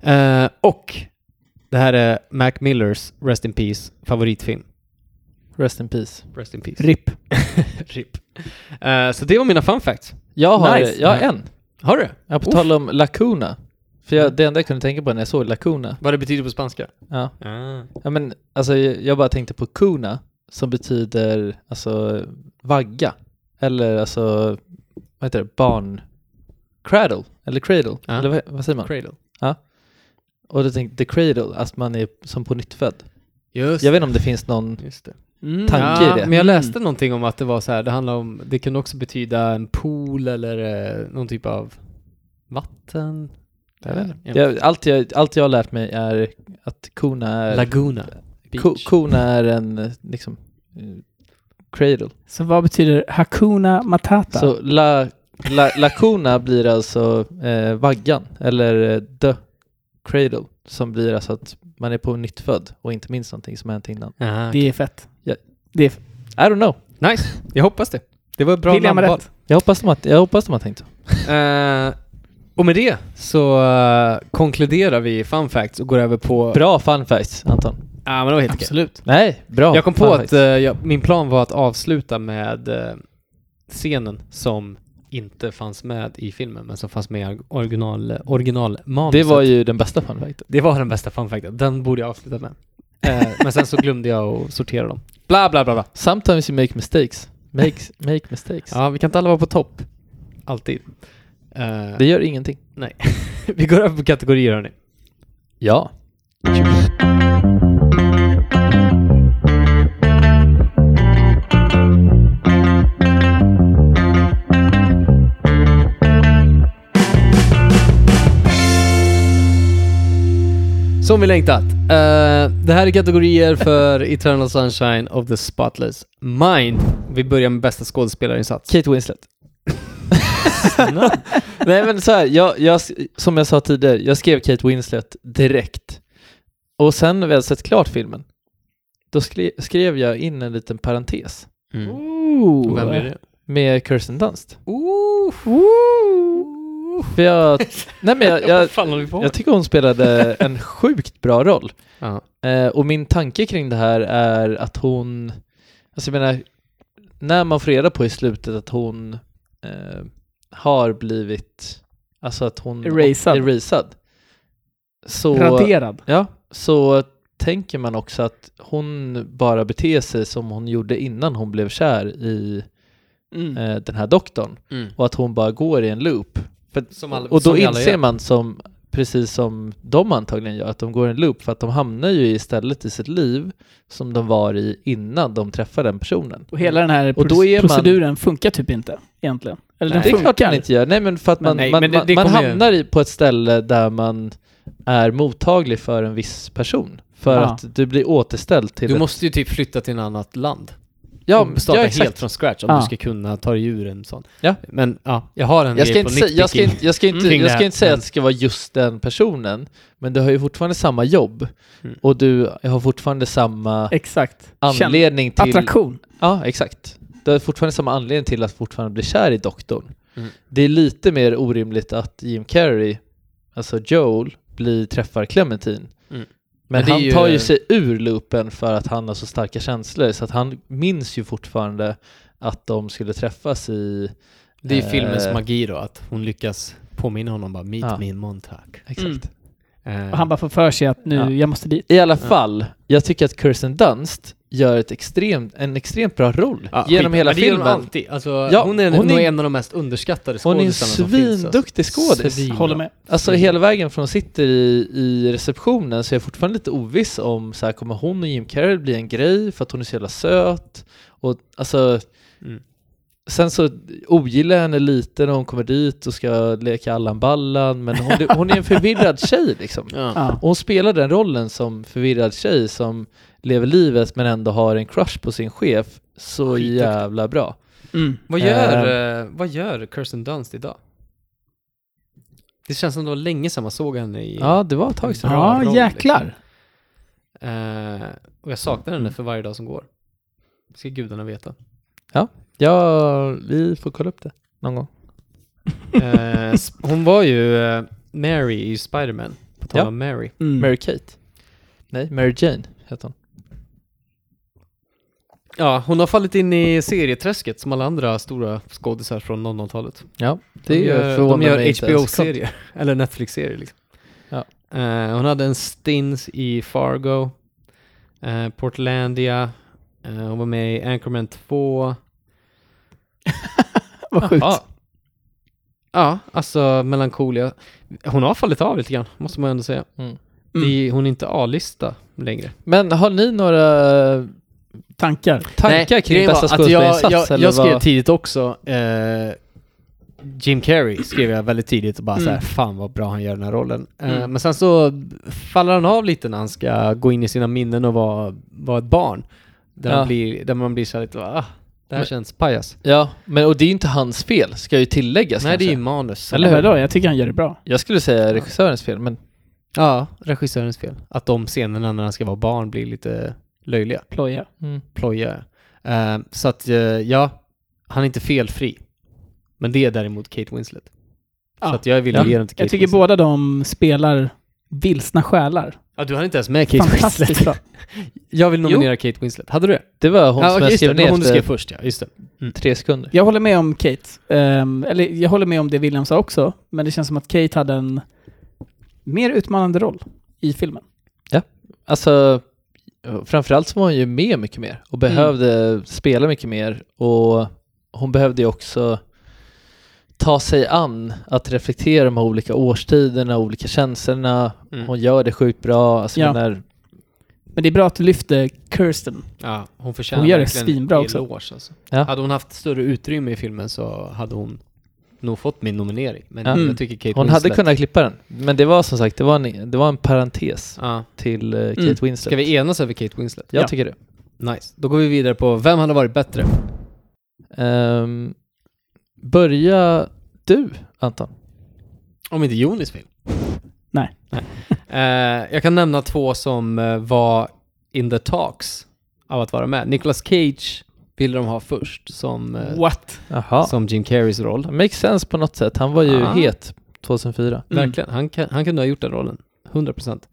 S1: Eh, och det här är Mac Millers Rest In Peace favoritfilm.
S5: Rest in peace.
S1: Rest In Peace.
S4: RIP.
S1: RIP. Eh, så det var mina fun facts.
S5: Jag har,
S4: Nice.
S5: jag har en.
S1: Har du?
S5: Ja, på tal om Lacuna. För jag, det enda jag kunde tänka på när jag såg Lacuna.
S1: Vad det betyder på spanska? Ah,
S5: Ja. Ja men alltså jag jag bara tänkte på kuna som betyder alltså vagga eller alltså vad heter det barn cradle eller cradle
S1: Ja.
S5: eller vad, vad säger man?
S1: Cradle.
S5: Och då tänkte jag, the cradle att man är som på nytt född.
S1: Just
S5: Jag vet inte om det finns någon
S1: Just det.
S4: Mm.
S5: Tanke i
S1: Ja,
S5: det. Mm.
S1: men jag läste någonting om att det var så här, det handlar om, det kunde också betyda en pool eller eh, någon typ av vatten.
S5: Jag vet inte.
S1: Ja.
S5: Jag, allt, jag, allt jag har lärt mig är att kuna är
S1: Laguna.
S5: ko, kuna är en eh, liksom eh, cradle.
S4: Så vad betyder Hakuna Matata?
S5: Så la, la, lakuna blir alltså eh, vaggan, eller eh, the cradle, som blir alltså att man är på nytt född och inte minns någonting som hänt innan.
S1: Aha,
S4: Det är fett.
S5: Ja.
S4: Det är f-
S5: I don't know.
S1: Nice, jag hoppas det. Det var ett bra
S4: William har
S1: namnval.
S4: rätt.
S5: Jag hoppas de har, jag hoppas de har tänkt så.
S1: Eh, och med det så eh, konkluderar vi fun facts och går över på...
S5: Bra fun facts, Anton.
S1: Ja, men det var helt okej.
S4: Absolut.
S5: Nej, bra
S1: Jag kom på
S5: fun
S1: att
S5: facts.
S1: eh, jag, min plan var att avsluta med eh, scenen som inte fanns med i filmen, men som fanns med i original, eh, originalmanuset.
S5: det var ju den bästa fun facten.
S1: det var den bästa fun facten. Den borde jag avsluta med. Eh, men sen så glömde jag att sortera dem. Bla, bla, bla, bla.
S5: Sometimes you make mistakes. Makes, make mistakes.
S1: Ja, vi kan inte alla vara på topp. Alltid. Eh,
S5: Det gör ingenting.
S1: vi går över på kategorier, hörni.
S5: Ja.
S1: Som vi längtat. Eh, det här är kategorier för Eternal Sunshine of the Spotless Mind. Vi börjar med bästa skådespelarinsats.
S5: Kate Winslet. Nej men så här, jag, jag, som jag sa tidigare, jag skrev Kate Winslet direkt. Och sen när vi hade sett klart filmen, då skrev, skrev jag in en liten parentes
S4: Ooh.
S1: Mm. Vem är det?
S5: med Kirsten Dunst. För jag, nej men jag, jag,
S1: fan håller vi på
S5: jag tycker hon spelade en sjukt bra roll.
S1: Ja.
S5: Eh, och min tanke kring det här är att hon, alltså jag menar, när man får reda på i slutet att hon eh, har blivit, alltså att hon
S4: Erasad.
S5: erasad så,
S4: Raderad.
S5: ja, så tänker man också att hon bara beter sig som hon gjorde innan hon blev kär i
S4: Mm.
S5: eh, den här doktorn
S1: Mm.
S5: och att hon bara går i en loop. För,
S1: Som alla-
S5: och då
S1: som vi alla
S5: inser
S1: gör.
S5: man som, precis som de antagligen gör, att de går i en loop för att de hamnar ju istället i sitt liv som de var i innan de träffar den personen.
S4: Och hela den här
S5: Och då
S4: proc-
S5: är man-
S4: proceduren funkar typ inte egentligen. Eller den
S5: Nej, det är klart
S4: funkar.
S5: man inte gör. Nej men för att
S4: Men
S5: man,
S1: nej,
S5: man,
S1: men det-
S5: man,
S1: det
S5: man
S1: kommer ju-
S5: hamnar i på ett ställe där man är mottaglig för en viss person. För
S4: Ja.
S5: att du blir återställd till
S1: Du
S5: ett-
S1: måste ju typ flytta till ett annat land.
S5: ja,
S1: och starta
S5: ja, exakt.
S1: helt från scratch om
S4: Ja.
S1: du ska kunna ta dig ur en sån.
S5: Ja.
S1: Men ja, jag har en
S5: Jag ska,
S1: grej
S5: inte
S1: på
S5: säga, jag, ska
S1: nitpicking.
S5: inte, jag, ska inte,
S1: kring det
S5: jag ska
S1: här.
S5: inte säga
S1: Men-
S5: att det ska vara just den personen, men du har ju fortfarande samma jobb
S1: Mm.
S5: och du har fortfarande samma
S4: Exakt. Känn-
S5: anledning till...
S4: Attraktion.
S5: Ja, exakt. Du har fortfarande samma anledning till att fortfarande bli kär i doktorn.
S1: Mm.
S5: Det är lite mer orimligt att Jim Carrey, alltså Joel, blir, träffar Clementine.
S1: Mm.
S5: Men
S1: Men det är
S5: han
S1: ju-
S5: tar ju sig ur loopen för att han har så starka känslor så att han minns ju fortfarande att de skulle träffas i...
S1: Det är ju filmens
S5: Eh.
S1: magi då, att hon lyckas påminna honom bara meet
S5: Ja.
S1: me in Montauk.
S5: Exakt.
S4: Mm.
S1: Eh,
S4: Och han bara får för sig att nu,
S5: Ja.
S4: jag måste dit.
S5: I alla fall, jag tycker att Kirsten Dunst gör ett extremt, en extremt bra roll
S1: ja,
S5: genom
S1: skit.
S5: hela
S1: Men det gör de
S5: filmen.
S1: alltid. Alltså,
S5: Ja,
S1: hon är,
S5: hon
S1: nog
S5: är-
S1: en av de mest underskattade
S5: Hon är en
S1: skådespelarna som finns. alltså.
S5: svinduktig skådis.
S1: Svin-
S4: Håller med.
S5: Alltså
S1: Mm.
S5: hela vägen från hon sitter i, i receptionen så är jag fortfarande lite oviss om så här, kommer hon och Jim Carrey bli en grej för att hon är så jävla söt? Och alltså,
S1: Mm.
S5: sen så ogillar jag henne lite när hon kommer dit och ska leka Allan Ballan, men hon, hon är en förvirrad tjej liksom.
S1: Ja.
S4: Ja.
S5: Och hon spelar den rollen som förvirrad tjej som lever livet men ändå har en crush på sin chef så
S1: Skitduktig.
S5: jävla bra.
S4: Mm.
S1: Vad gör, eh, vad gör Kirsten Dunst idag? Det känns som det var länge sedan man såg henne i...
S5: Ja, det var ett tag sedan.
S1: Bra roll,
S4: Ja,
S1: liksom.
S4: jäklar.
S1: Eh, och jag saknar
S5: Mm.
S1: henne för varje dag som går. Ska gudarna veta.
S5: Ja, vi får kolla upp det någon gång.
S1: Eh, sp- hon var ju eh, Mary i Spiderman. På tal
S5: Ja.
S1: om Mary.
S4: Mm.
S5: Mary Kate? Nej, Mary Jane heter hon.
S1: Ja, hon har fallit in i serieträsket som alla andra stora skådisar från 00-talet.
S5: Ja,
S1: De
S5: det
S1: gör, de
S5: förvånar mig
S1: gör
S5: inte ens.
S1: HBO-serier. Eller Netflix-serier liksom.
S5: Ja.
S1: Eh, hon hade en stins i Fargo. eh, Portlandia. eh, hon var med i Anchorman 2.
S4: Vad sjukt.
S5: Ja,
S1: Ja, alltså melankolia. Hon har fallit av lite grann, måste man ändå säga.
S5: Mm.
S1: Det är, hon är inte A-lista längre.
S5: men har ni några
S4: Tankar.
S5: tankar kring
S1: grejen
S5: bästa
S1: var att jag-
S5: skådespelarinsats?
S1: Jag,
S5: eller
S1: jag skrev
S5: vad-
S1: tidigt också, eh, Jim Carrey skrev jag väldigt tidigt och bara
S4: Mm.
S1: så här, fan vad bra han gör den här rollen. Eh,
S4: Mm.
S1: Men sen så faller han av lite när han ska gå in i sina minnen och vara, vara ett barn. Där,
S5: Ja.
S1: han blir, där man blir så här lite, ah, Det här
S5: Men-
S1: känns pajas.
S5: Ja, men och det är ju inte hans fel, ska ju tilläggas
S1: Nej, det är ju
S5: kanske.
S1: manus.
S5: Eller hur?
S4: Vadå? Jag tycker han gör det bra.
S5: Jag skulle säga regissörens fel, men
S1: Ja, regissörens fel. Att de scenerna när han ska vara barn blir lite löjliga,
S4: Ploja.
S5: mm.
S1: plojiga. Eh, så att, eh, ja, han är inte felfri. Men det är däremot Kate Winslet.
S4: Ja.
S1: Så att jag vill
S5: Ja.
S1: ge den till Kate
S4: Jag tycker
S1: Winslet.
S4: båda de spelar vilsna själar.
S1: Ja, du hann inte ens med Kate Winslet.
S4: Fantastiskt bra.
S1: Jag vill nominera Kate Winslet. Hade du det?
S5: det var hon
S1: ja,
S5: som
S1: okej,
S5: jag
S1: just det.
S5: skrev
S1: Det var
S5: ner
S1: hon du skrev
S5: efter
S1: först, ja. Just det.
S5: tre sekunder.
S4: Jag håller med om Kate. Ehm, eller jag håller med om det William sa också, men det känns som att Kate hade en mer utmanande roll i filmen.
S5: Alltså, framförallt så var hon ju med mycket mer och
S1: Mm.
S5: behövde spela mycket mer och hon behövde ju också ta sig an att reflektera de här olika årstiderna, olika känslorna.
S1: Mm.
S5: Hon gör det sjukt bra. Alltså
S4: Ja.
S5: den där,
S4: Men det är bra att du lyfter Kirsten.
S1: Ja, hon förtjänar
S4: Hon gör det
S1: verkligen
S4: svinbra också.
S1: eloge, Alltså.
S5: Ja.
S1: Hade hon haft större utrymme i filmen så hade hon nog fått min nominering. Men
S5: Ja.
S1: jag tycker Kate
S5: hon
S1: Winslet...
S5: hade kunnat klippa den. Men det var som sagt, det var en, det var en parentes
S1: Ja.
S5: till eh, Kate
S4: Mm.
S5: Winslet.
S1: Ska vi enas över Kate Winslet?
S5: Jag
S4: Ja.
S5: tycker det.
S1: Nice. Då går vi vidare på Vem hade varit bättre?
S5: Ehm, börja du, Anton.
S1: Om inte Jonis vill.
S4: Nej.
S1: Eh, jag kan nämna två som eh, var in the talks av att vara med. Nicolas Cage ville de ha först som, eh,
S4: What?
S5: Jaha.
S1: som Jim Carreys roll.
S5: Makes sense på något sätt. Han var ju
S1: Ja.
S5: het 2004.
S4: Mm.
S1: Verkligen. Han, kan, han kunde ha gjort den rollen. 100%. procent.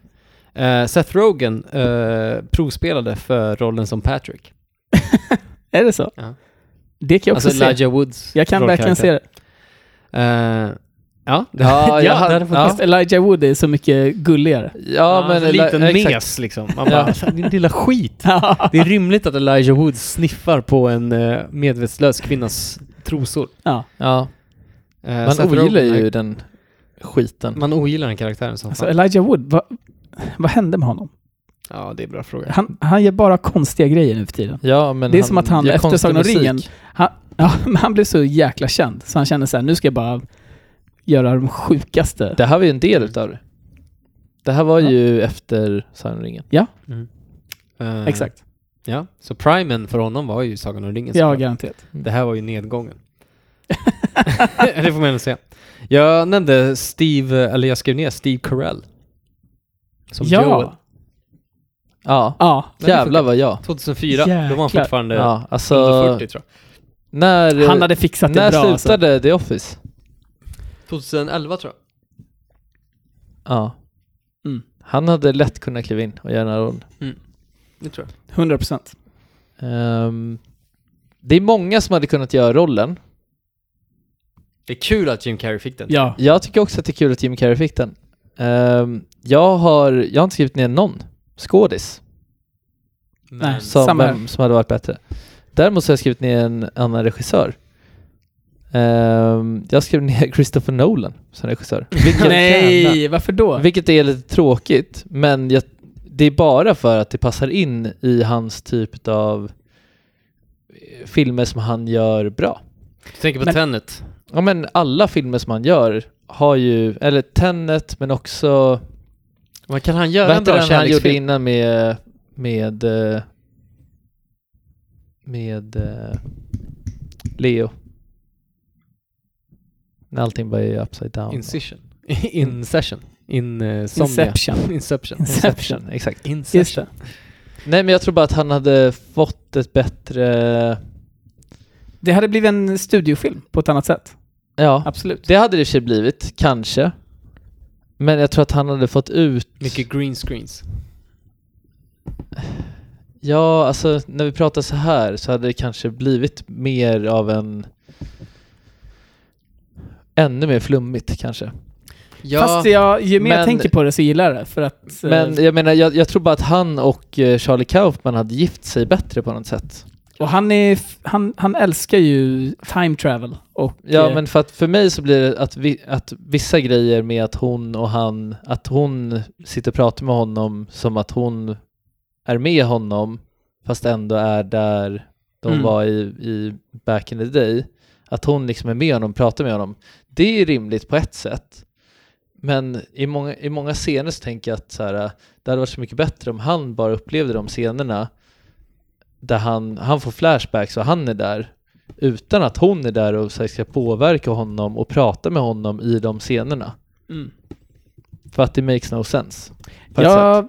S1: Seth Rogen eh, provspelade för rollen som Patrick.
S4: Är det så?
S1: Ja.
S4: Det kan jag också
S1: Alltså
S4: se.
S1: Elijah Woods
S4: Jag kan verkligen se det.
S1: det. ja, det,
S5: Ja, jag hade-
S1: hade
S5: Ja.
S1: faktiskt...
S4: Fast Elijah Wood är så mycket gulligare.
S5: Ja, men...
S1: en
S5: eller-
S1: liten
S5: exakt.
S1: alltså, mes liksom. Man
S5: Ja.
S1: bara, din lilla skit. Det är rimligt att Elijah Wood sniffar på en eh, medvetslös kvinnas trosor.
S4: ja.
S5: Ja,
S1: Eh,
S5: man
S1: Seth
S5: ogillar
S1: Rogen är-
S5: ju den skiten.
S1: Man ogillar den karaktären som
S4: alltså,
S1: fan.
S4: Elijah Wood, vad, vad hände med honom?
S1: Ja, det är en bra fråga.
S4: Han, han gör bara konstiga grejer nu för tiden.
S5: Ja, men
S4: Det är som att han
S5: gör
S4: efter
S5: konstig
S4: Sagan om
S5: musik.
S4: ringen- Han, ja, men han blev så jäkla känd, så han kände så här, nu ska jag bara göra de sjukaste.
S5: Det här var ju en del utav det. Det här var ju efter Sagan om ringen.
S1: Eh,
S4: Mm. Exakt.
S1: Ja, så primen för honom var ju Sagan om ringen.
S4: Ja,
S1: såklart.
S4: garanterat.
S1: Det här var ju nedgången. det får man ändå säga. Jag nämnde Steve, eller jag skrev ner Steve Carell. Som
S4: ja.
S1: Joel.
S5: Ja,
S4: Ja.
S1: Men det
S5: jävlar
S1: funkar.
S5: vad jag.
S1: 2004, då var han
S4: Jäklar.
S1: fortfarande
S5: Ja, alltså,
S1: under 40 tror jag.
S5: när,
S4: Han hade fixat det
S5: när
S4: bra. Alltså.
S5: slutade The Office?
S1: 2011 tror jag.
S5: Ja.
S4: Mm.
S5: Han hade lätt kunnat kliva in och göra den här rollen.
S1: Det tror jag.
S4: 100 procent.
S5: Ehm, det är många som hade kunnat göra rollen.
S1: Det är kul att Jim Carrey fick den.
S4: Ja.
S5: Jag tycker också att det är kul att Jim Carrey fick den. Ehm, jag, har, jag har inte skrivit ner någon skådis
S1: Men-
S4: Nej.
S5: som,
S4: Samma här.
S5: vem, som hade varit bättre. Däremot så har jag skrivit ner en annan regissör. Ehm, jag skrev ner Christopher Nolan som regissör. Vilket,
S4: Nej, varför då?
S5: vilket är lite tråkigt, men jag, det är bara för att det passar in i hans typ av eh, filmer som han gör bra.
S1: Du tänker på
S4: Men-
S1: Tenet.
S5: Ja men alla filmer som han gör har ju, eller Tenet men också,
S1: Vad kan han
S5: vad
S1: göra en
S5: hette
S1: bra
S5: den han gjorde
S1: kärleksfilm?
S5: innan med, med, eh, med eh, Leo? När allting bara är upside down.
S1: Incision. In session. In, uh,
S4: Inception.
S1: Inception.
S5: Inception, exakt.
S4: Just
S1: Inception.
S4: det.
S5: Nej men jag tror bara att han hade fått ett bättre,
S4: det hade blivit en studiofilm på ett annat sätt.
S5: ja
S4: Absolut.
S5: det hade det i och för sig blivit, kanske. Men jag tror att han hade fått ut
S1: Mycket green screens.
S5: Ja, alltså när vi pratar så här så hade det kanske blivit mer av en... Ännu mer flummigt kanske.
S1: Ja,
S4: Fast jag, ju mer jag
S5: men-
S4: tänker på det så gillar jag det. För att, eh,
S5: Men jag menar, jag, jag tror bara att han och eh, Charlie Kaufman hade gift sig bättre på något sätt.
S4: och han, är, f- han, han älskar ju time travel. Och,
S5: Ja,
S4: eh,
S5: men för att för mig så blir det att, vi, att vissa grejer med att hon och han, att hon sitter och pratar med honom som att hon är med honom fast ändå är där de
S4: Mm.
S5: var i, i back in the day. Att hon liksom är med honom, pratar med honom. Det är rimligt på ett sätt. Men i många, i många scener äh, så tänker jag att så här, det hade varit så mycket bättre om han bara upplevde de scenerna där han, han får flashbacks och han är där utan att hon är där och så här, ska påverka honom och prata med honom i de scenerna.
S4: Mm.
S5: För att det makes no sense. På ett
S4: Ja,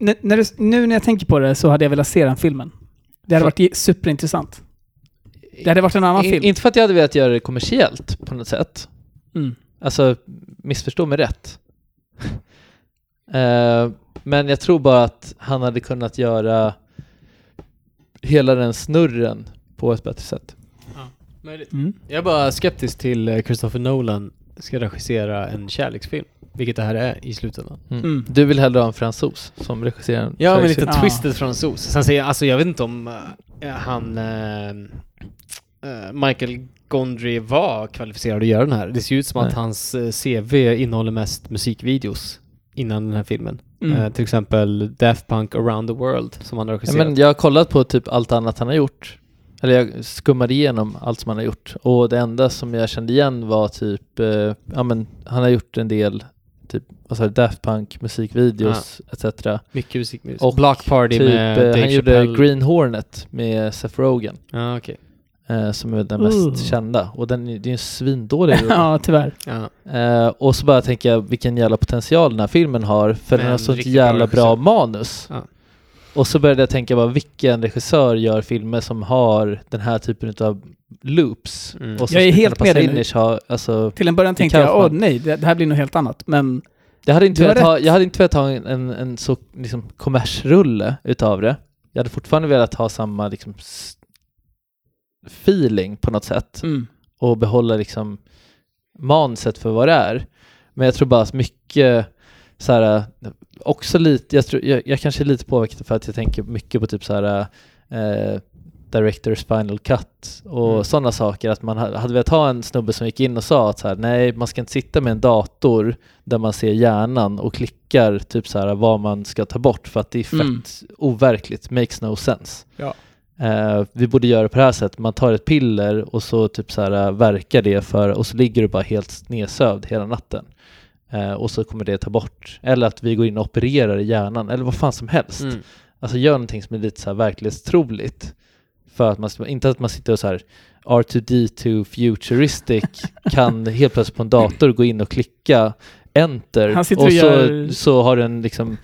S4: n- när du, nu när jag tänker på det så hade jag velat se den filmen. Det hade
S5: För-
S4: varit ge- superintressant.
S5: sätt.
S4: Det hade varit en annan
S5: I-
S4: film.
S5: Inte för att jag hade velat göra det kommersiellt på något sätt.
S4: Mm.
S5: Alltså, missförstå mig rätt. Eh, men jag tror bara att han hade kunnat göra hela den snurren på ett bättre sätt.
S4: Mm.
S1: Jag är bara skeptisk till eh, Christopher Nolan ska regissera en kärleksfilm, vilket det här är i slutändan.
S5: Mm.
S4: Mm.
S5: Du vill hellre ha en fransos som regisserar en
S1: Ja, men
S5: Sveriges-
S1: lite
S4: Ja.
S1: twisted fransos. Sen säger jag, alltså jag vet inte om eh, han eh, eh, Michael Gondry var kvalificerad att göra den här. Det ser ju ut som
S5: Nej.
S1: att hans eh, CV innehåller mest musikvideos innan den här filmen.
S4: Mm.
S1: Eh, till exempel Daft Punk Around the World som han har
S5: Ja,
S1: regisserat.
S5: men jag har kollat på typ allt annat han har gjort. Eller jag skummade igenom allt som han har gjort. Och det enda som jag kände igen var typ, eh, ja men han har gjort en del typ, vad sa du, Daft Punk musikvideos etc.
S1: Mycket musikvideos.
S5: Och
S1: Och Block Party
S5: typ,
S1: med
S5: eh,
S1: Dave
S5: han gjorde
S1: Chappelle.
S5: Green Hornet med Seth Rogen.
S1: Ja, okej.
S5: Eh, som är den
S4: Ooh.
S5: mest kända. Och den, är- det är ju en svindålig rulle.
S4: ja, tyvärr.
S1: Ja.
S5: eh, Och så bara tänker jag vilken jävla potential den här filmen har. För den
S1: Men
S5: har sånt
S1: riktigt bra
S5: jävla bra
S1: regissör.
S5: manus.
S1: Ja.
S5: Och så började jag tänka bara vilken regissör gör filmer som har den här typen av loops.
S1: Mm.
S5: Och som
S4: Jag är
S5: skulle kunna
S4: helt med
S5: passa
S4: dig
S5: in
S4: nu.
S5: i ha- alltså,
S4: Till en början
S5: Det
S4: tänkte
S5: kan
S4: jag,
S5: vara
S4: åh
S5: fan.
S4: nej, det, det här blir nog helt annat. Men
S5: jag, hade inte
S4: Du har
S5: velat ha, jag hade inte velat ha en, en, en så liksom, kommersrulle utav det. Jag hade fortfarande velat ha samma liksom, s- feeling på något sätt.
S4: mm.
S5: och behålla liksom manuset för vad det är. Men jag tror bara att mycket så här, också lite, jag, tror, jag, jag kanske är lite påverkad för att jag tänker mycket på typ så här eh, Directors Final Cut och
S1: Mm.
S5: sådana saker. Att man ha- hade velat ha en snubbe som gick in och sa att så här, nej, man ska inte sitta med en dator där man ser hjärnan och klickar typ så här vad man ska ta bort för att det är fett
S4: Mm.
S5: overkligt, makes no sense.
S4: Ja.
S5: Eh, vi borde göra på det här sättet, man tar ett piller och så typ så här eh, verkar det för, och så ligger du bara helt nedsövd hela natten. Eh, och så kommer det ta bort. Eller att vi går in och opererar i hjärnan, eller vad fan som helst.
S1: Mm.
S5: Alltså gör någonting som är lite så här verklighetstroligt. För att man, inte att man sitter och så här R2D2 futuristic kan helt plötsligt på en dator gå in och klicka enter
S4: Han
S5: och
S4: sitter
S5: så,
S4: och gör-
S5: så har den liksom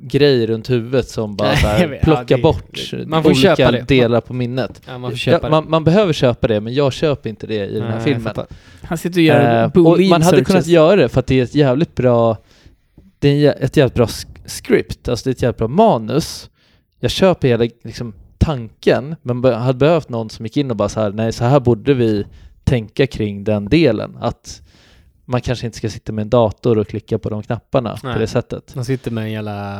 S5: grej runt huvudet som bara
S1: Nej,
S5: så
S1: jag
S5: här
S1: vet.
S5: plockar
S1: Ja, det-
S5: bort
S1: man får
S5: olika
S1: köpa det. Man-
S5: delar på minnet.
S1: Ja, man får
S5: Ja,
S1: köpa det.
S5: man, man behöver köpa det, men jag köper inte det i den här
S1: Nej, jag
S5: filmen.
S1: fattar.
S4: han sitter och gör
S5: Eh, och
S4: boolean
S5: man hade
S4: searches.
S5: kunnat göra det för att det är ett jävligt bra det är en jä- ett jävligt bra sk- script, alltså det är ett jävligt bra manus. Jag köper hela liksom, tanken, men be- hade behövt någon som gick in och bara så här, nej så här borde vi tänka kring den delen. Att man kanske inte ska sitta med en dator och klicka på de knapparna
S1: Nej.
S5: på det sättet.
S1: Man sitter med en jävla...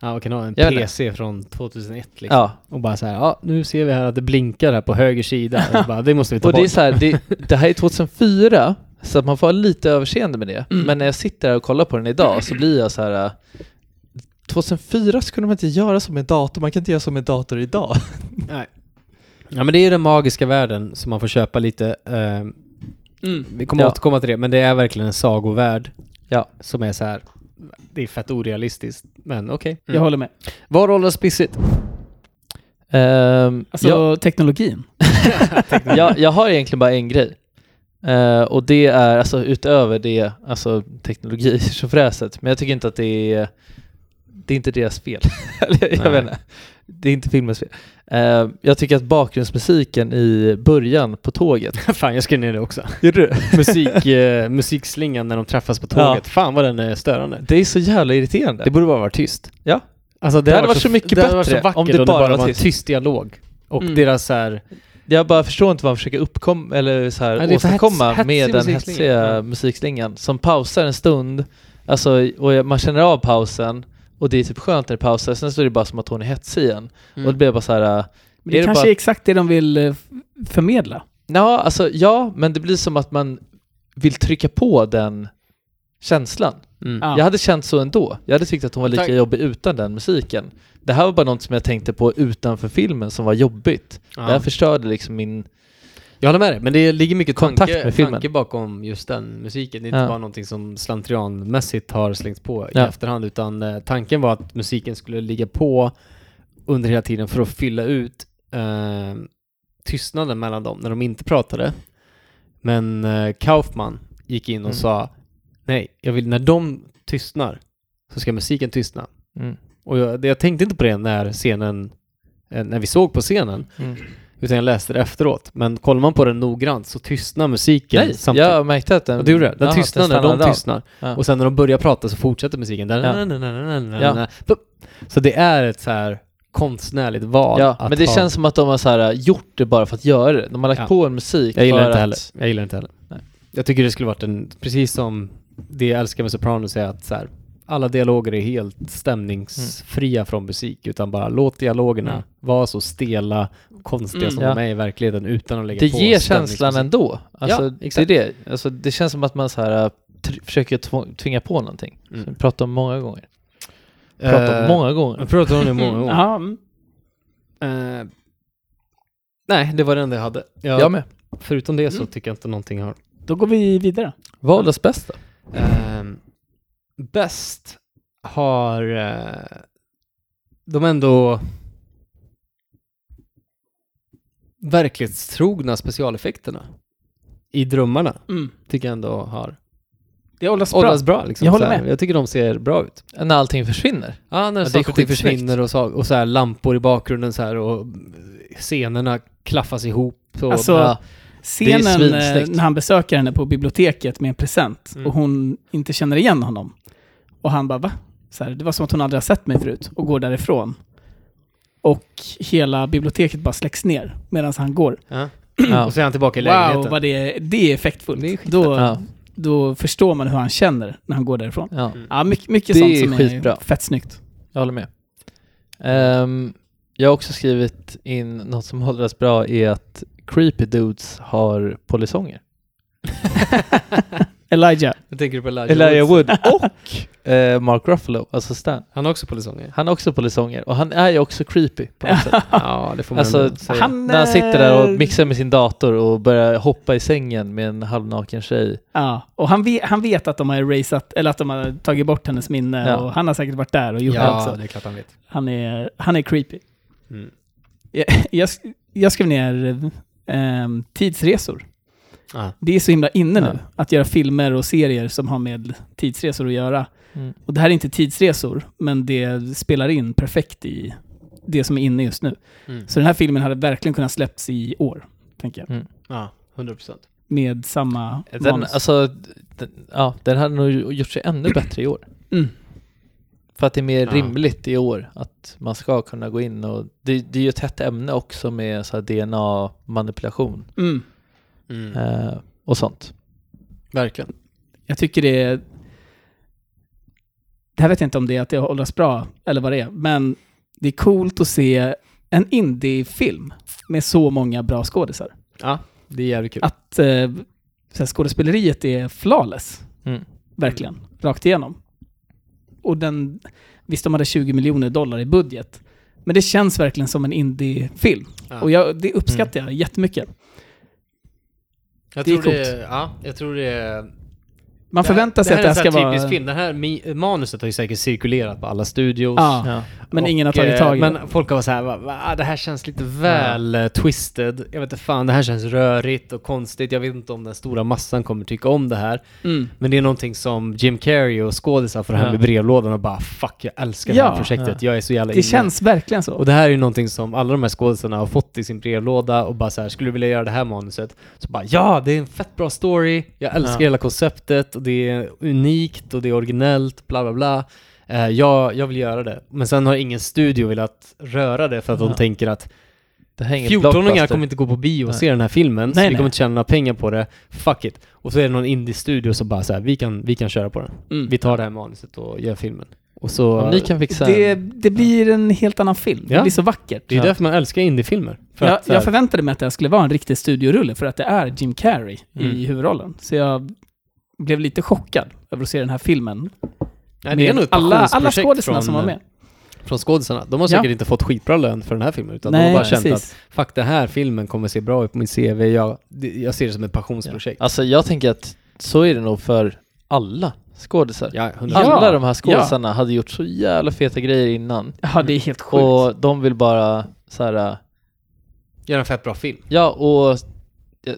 S1: Ja, man kan ha en
S5: Jag vet inte.
S1: PC från 2001 liksom.
S5: Ja,
S1: Och bara så här, ja, nu ser vi här att det blinkar här på höger sida. Och bara, det måste vi ta
S5: och det är
S1: bort.
S5: så här, det, det här är 2004, så att man får ha lite överseende med det. Men när jag sitter här och kollar på den idag så blir jag så här. äh, 2004 så kunde man inte göra som en dator, man kan inte göra som en dator idag.
S1: Ja, men det är ju den magiska världen som man får köpa lite. eh,
S4: Mm.
S1: vi kommer
S5: Ja.
S1: återkomma till det, men det är verkligen en sagovärld.
S5: Ja.
S1: Som är så här, det är fett orealistiskt, men okej.
S4: Jag håller med.
S1: Vad åldras pissigt?
S5: Ehm,
S4: Alltså
S5: jag,
S4: teknologin.
S5: jag, jag har egentligen bara en grej. Eh, och det är, alltså utöver det, alltså teknologi så fräset. Men jag tycker inte att det är, det är inte deras fel. Eller, jag
S1: Nej.
S5: vet inte. Det är inte filmens fel. Eh, jag tycker att bakgrundsmusiken i början på tåget
S1: Fan, jag skrev ner det också.
S5: Gjorde du?
S1: Musik, eh, musikslingan när de träffas på tåget. Fan vad den är störande.
S5: Det är så jävla irriterande.
S1: Det borde bara vara tyst.
S5: Ja.
S1: Alltså, det,
S5: hade varit
S1: varit
S5: så mycket
S1: det hade varit så
S5: bättre
S1: vackert
S5: om det bara var
S1: var en
S5: tyst.
S1: tyst dialog. Och
S4: Mm.
S1: deras så här,
S5: Jag bara förstår inte vad man försöker uppkomma eller så här
S1: Ja, det är för
S5: åstadkomma
S1: hets- hetsig
S5: med den
S1: musikslinga.
S5: hetsiga
S1: Ja.
S5: musikslingan som pausar en stund alltså, och jag- man känner av pausen och det är typ skönt när det pausar sen så är det bara som att hon är hetsig igen.
S1: Mm.
S5: Och det blir bara så här äh,
S4: Men det,
S5: är det
S4: kanske
S5: bara-
S4: är exakt det de vill eh, f- förmedla.
S5: ja, alltså ja, men det blir som att man vill trycka på den känslan.
S1: mm.
S4: Ja.
S5: Jag hade känt så ändå. Jag hade tyckt att hon var lika
S1: Tack.
S5: jobbig utan den musiken. Det här var bara något som jag tänkte på utanför filmen som var jobbigt.
S1: Ja.
S5: Det här förstörde liksom min
S1: Jag håller med dig, men det ligger mycket
S5: Kontakt
S1: tanke,
S5: med filmen.
S1: tanke bakom just den musiken. Det är inte
S5: Ja.
S1: bara någonting som slentrianmässigt har slängts på
S5: Ja.
S1: i efterhand, utan eh, tanken var att musiken skulle ligga på under hela tiden för att fylla ut eh, tystnaden mellan dem när de inte pratade. Men eh, Kaufman gick in och
S5: Mm.
S1: sa nej, jag vill när de tystnar så ska musiken tystna.
S5: Mm.
S1: Och jag, det- jag tänkte inte på det när scenen, eh, när vi såg på scenen,
S5: Mm.
S1: utan jag läste det efteråt. Men kollar man på den noggrant så tystnar musiken
S5: Nej,
S1: samtidigt.
S5: jag märkte att den...
S1: Ja, du gjorde det. Den
S5: Jaha,
S1: tystnar när
S5: stannade
S1: de
S5: av.
S1: tystnar.
S5: Ja.
S1: Och sen när de börjar prata så fortsätter musiken.
S5: Ja.
S1: Pup. Så det är ett så här konstnärligt val.
S5: Ja,
S1: att
S5: men det
S1: ha.
S5: känns som att de har så här, äh, gjort det bara för att göra det. De har lagt
S1: Ja.
S5: på en musik
S1: Jag gillar
S5: för
S1: inte
S5: att...
S1: heller. Jag gillar inte heller.
S5: Nej.
S1: Jag tycker det skulle varit en, precis som det jag älskar med Sopranos är att så här, alla dialoger är helt stämningsfria från musik, utan bara låt dialogerna
S5: Mm.
S1: vara så stela, konstiga
S4: Mm.
S1: som
S5: Ja.
S1: de är i verkligheten utan att lägga
S5: Det
S1: på
S5: ger känslan
S1: stämningsmusik.
S5: ändå. Alltså,
S1: Ja,
S5: det är
S1: exakt.
S5: det. Alltså, det känns som att man så här, äh, tr- försöker tv- tvinga på någonting.
S1: Mm.
S5: Som vi pratade om många gånger. Pratat om
S1: Eh,
S5: många gånger.
S1: Jag pratar om det många gånger.
S4: Ja, mm.
S1: Eh, nej, det var det enda jag hade. Jag, Mm.
S5: Jag med.
S1: Förutom det så tycker jag inte någonting har...
S4: då går vi vidare.
S5: Valets bästa.
S1: Ehm, bäst har eh, de ändå verklighetstrogna specialeffekterna i drömmarna.
S4: Mm.
S1: Tycker jag ändå har
S4: Det åldras bra.
S1: åldrats bra. Liksom,
S4: Jag håller
S1: så här.
S4: med.
S1: Jag tycker de ser bra ut.
S5: När allting försvinner.
S1: Ja, när
S5: det är
S1: saker och ting
S5: skitsnyggt.
S1: försvinner och, så, och så här, lampor i bakgrunden så här, och scenerna klaffas ihop. Och,
S4: Alltså,
S1: ja,
S4: Scenen eh,
S1: svinsnyggt.
S4: när han besöker henne på biblioteket med en present
S1: Mm.
S4: och hon inte känner igen honom. Och han bara va? Så här, det var som att hon aldrig har sett mig förut och går därifrån. Och hela biblioteket bara släcks ner medan han går.
S1: ja.
S5: Ja.
S1: Och så är han tillbaka i lägenheten.
S4: Wow, vad det, det är effektfullt.
S1: Det är
S4: då,
S5: Ja.
S4: då förstår man hur han känner när han går därifrån.
S5: Ja.
S1: Mm.
S4: Ja, mycket, mycket
S5: Det
S4: sånt
S5: är
S4: som
S5: skitbra.
S4: är fett snyggt.
S5: Jag håller med. Ehm, jag har också skrivit in något som hållas bra är att creepy dudes har polisonger.
S4: Elijah.
S1: Nu tänker du på Elijah,
S5: Elijah
S1: Woods.
S5: Wood och eh, Mark Ruffalo, alltså Stan.
S1: Han har också polisonger.
S5: Han har också polisonger och han är ju också creepy på något sätt.
S1: ja, det får man
S5: Alltså,
S1: ändå säga.
S4: han-
S5: När han sitter där och
S4: eh,
S5: mixar med sin dator och börjar hoppa i sängen med en halvnaken tjej.
S4: Ja, och han vet, han vet att de har erasat, eller att de har tagit bort hennes minne
S5: Ja.
S4: och han har säkert varit där och gjort det
S1: ja,
S4: också.
S1: det är klart han vet.
S4: Han är, han är creepy.
S1: Mm.
S4: Jag, jag, sk- jag skrev ner ehm, tidsresor.
S1: Ah.
S4: Det är så himla inne
S5: Ja.
S4: nu att göra filmer och serier som har med tidsresor att göra.
S5: Mm.
S4: Och det här är inte tidsresor, men det spelar in perfekt i det som är inne just nu.
S1: Mm.
S4: Så den här filmen hade verkligen kunnat släppts i år, tänker jag.
S1: Ja, 100 procent.
S4: Med samma
S5: Mm. Den,
S4: manus.
S5: alltså, den, ja, den hade nog gjort sig ännu bättre i år.
S4: Mm.
S5: För att det är mer
S1: Ja.
S5: rimligt i år att man ska kunna gå in och det, det är ju ett hett ämne också med så här DNA-manipulation
S4: Mm.
S1: Mm.
S5: eh, och sånt.
S1: Verkligen.
S4: Jag tycker det är... Det här vet jag inte om det är att det åldras bra, eller vad det är, men det är coolt att se en indie-film med så många bra skådisar.
S1: Ja, det är jävligt kul.
S4: Att eh, så här, skådespeleriet är flawless,
S5: Mm.
S4: verkligen, rakt igenom. Och den... Visst, de hade 20 miljoner dollar i budget, men det känns verkligen som en indie-film.
S1: Ja.
S4: Och jag, det uppskattar jag jättemycket.
S1: jag
S4: det är
S1: tror det, ja, jag tror det är...
S4: Man förväntar sig
S1: det
S4: att det
S1: här är
S4: här ska
S1: en sån här
S4: vara...
S1: typisk film. Det här mi- manuset har ju säkert cirkulerat på alla studios.
S4: Ja,
S5: Ja.
S4: men ingen har
S1: Och,
S4: tagit
S1: eh,
S4: tag i det.
S1: Men folk har varit så här, va, va, ah, det här känns lite väl eh, twisted. Jag vet inte fan, det här känns rörigt och konstigt. Jag vet inte om den stora massan kommer tycka om det här.
S4: Mm.
S1: Men det är någonting som Jim Carrey och skådisar får hem
S5: Ja.
S1: i brevlådan och bara fuck, jag älskar det här
S4: Ja.
S1: projektet. Jag är så jävla
S4: Det
S1: inne."
S4: känns verkligen så.
S1: Och det här är ju någonting som alla de här skådisarna har fått i sin brevlåda och bara så här, skulle du vilja göra det här manuset? Så bara, ja, det är en fett bra story, jag älskar
S5: Ja.
S1: hela konceptet och det är unikt och det är originellt, bla bla bla. Eh, ja, jag vill göra det. Men sen har ingen studio velat röra det för att de
S5: Ja.
S1: tänker att
S5: Det här är ingen
S1: 14-åringar
S5: blockbuster.
S1: kommer inte gå på bio och
S5: Nej.
S1: se den här filmen, så
S4: Nej,
S1: vi
S4: nej.
S1: kommer inte tjäna några pengar på det, fuck it. Och så är det någon indie-studio som bara så här, vi kan, vi kan köra på den.
S4: Mm.
S1: Vi tar det här manuset och gör filmen. Och så,
S5: Om ni kan fixa
S4: Det,
S5: en...
S4: det blir en helt annan film.
S1: Ja.
S4: Det blir så vackert.
S1: det är
S5: Ja.
S1: därför man älskar indiefilmer. För
S4: jag,
S1: att så här-
S5: eh,
S4: jag förväntade mig att det här skulle vara en riktig studiorulle för att det är Jim Carrey
S1: Mm.
S4: i huvudrollen. Så jag blev lite chockad över att se den här filmen.
S1: Nej, det är
S4: Med
S1: nog ett
S4: alla, alla
S1: passionsprojekt
S4: skådisarna
S1: från,
S4: som var med.
S1: Från skådisarna. De har
S4: Ja.
S1: säkert inte fått skitbra lön för den här filmen, utan de har bara känt att fuck, den här filmen kommer se bra ut på min CV, jag, det- jag ser det som ett
S5: Ja.
S1: passionsprojekt.
S5: Alltså jag tänker att så är det nog för alla skådisar.
S1: Ja, 100%.
S4: Ja.
S5: Alla de här skådisarna hade gjort så jävla feta grejer innan.
S4: Ja, det är helt sjukt.
S5: Och de vill bara så här.
S1: Gör en fett bra film.
S5: ja och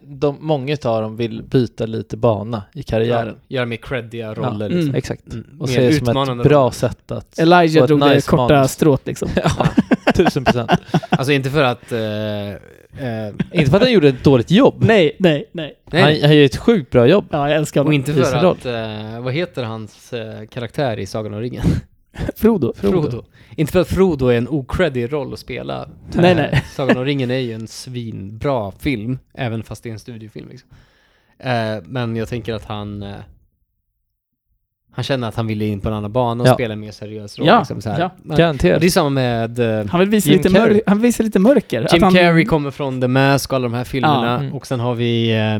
S5: de, många av dem vill byta lite bana i karriären.
S1: Gör mer creddiga
S5: Ja.
S1: roller.
S4: Mm.
S1: Liksom.
S5: Exakt.
S1: Mm.
S5: Och
S1: Mer
S5: se det som
S1: utmanande
S5: ett bra
S1: roller.
S5: sätt att...
S4: Elijah
S5: och ett
S4: drog det
S5: nice
S4: korta
S5: manus.
S4: strået liksom.
S5: Tusen procent.
S1: Alltså inte för att... Eh, eh,
S5: Inte för att han gjorde ett dåligt jobb.
S4: nej, nej, nej.
S1: nej,
S5: Han, han gör ett sjukt bra jobb.
S4: Ja, jag älskar
S1: och
S4: honom.
S1: inte
S5: i sin
S1: för
S5: roll.
S1: att... Eh, vad heter hans eh, karaktär i Sagan om ringen?
S4: Frodo.
S1: Frodo. Inte för att Frodo är en okreddig roll att spela.
S4: Nej,
S1: Eh,
S4: nej.
S1: Sagan om ringen är ju en svinbra film, även fast det är en studiofilm. Liksom. Eh, men jag tänker att han... Eh, han känner att han ville in på en annan bana och
S5: Ja.
S1: spela en mer seriös roll.
S4: Ja,
S1: liksom, så här.
S4: ja.
S1: Men- och
S5: Garanterat.
S1: det är samma med... Eh,
S4: Han vill visa
S5: Jim
S4: lite,
S5: Carrey.
S4: mörk, han vill visa lite mörker. Att
S1: Jim
S4: han,
S1: Carrey kommer från The Mask och alla de här filmerna.
S4: Ja,
S5: mm.
S1: Och sen har vi eh,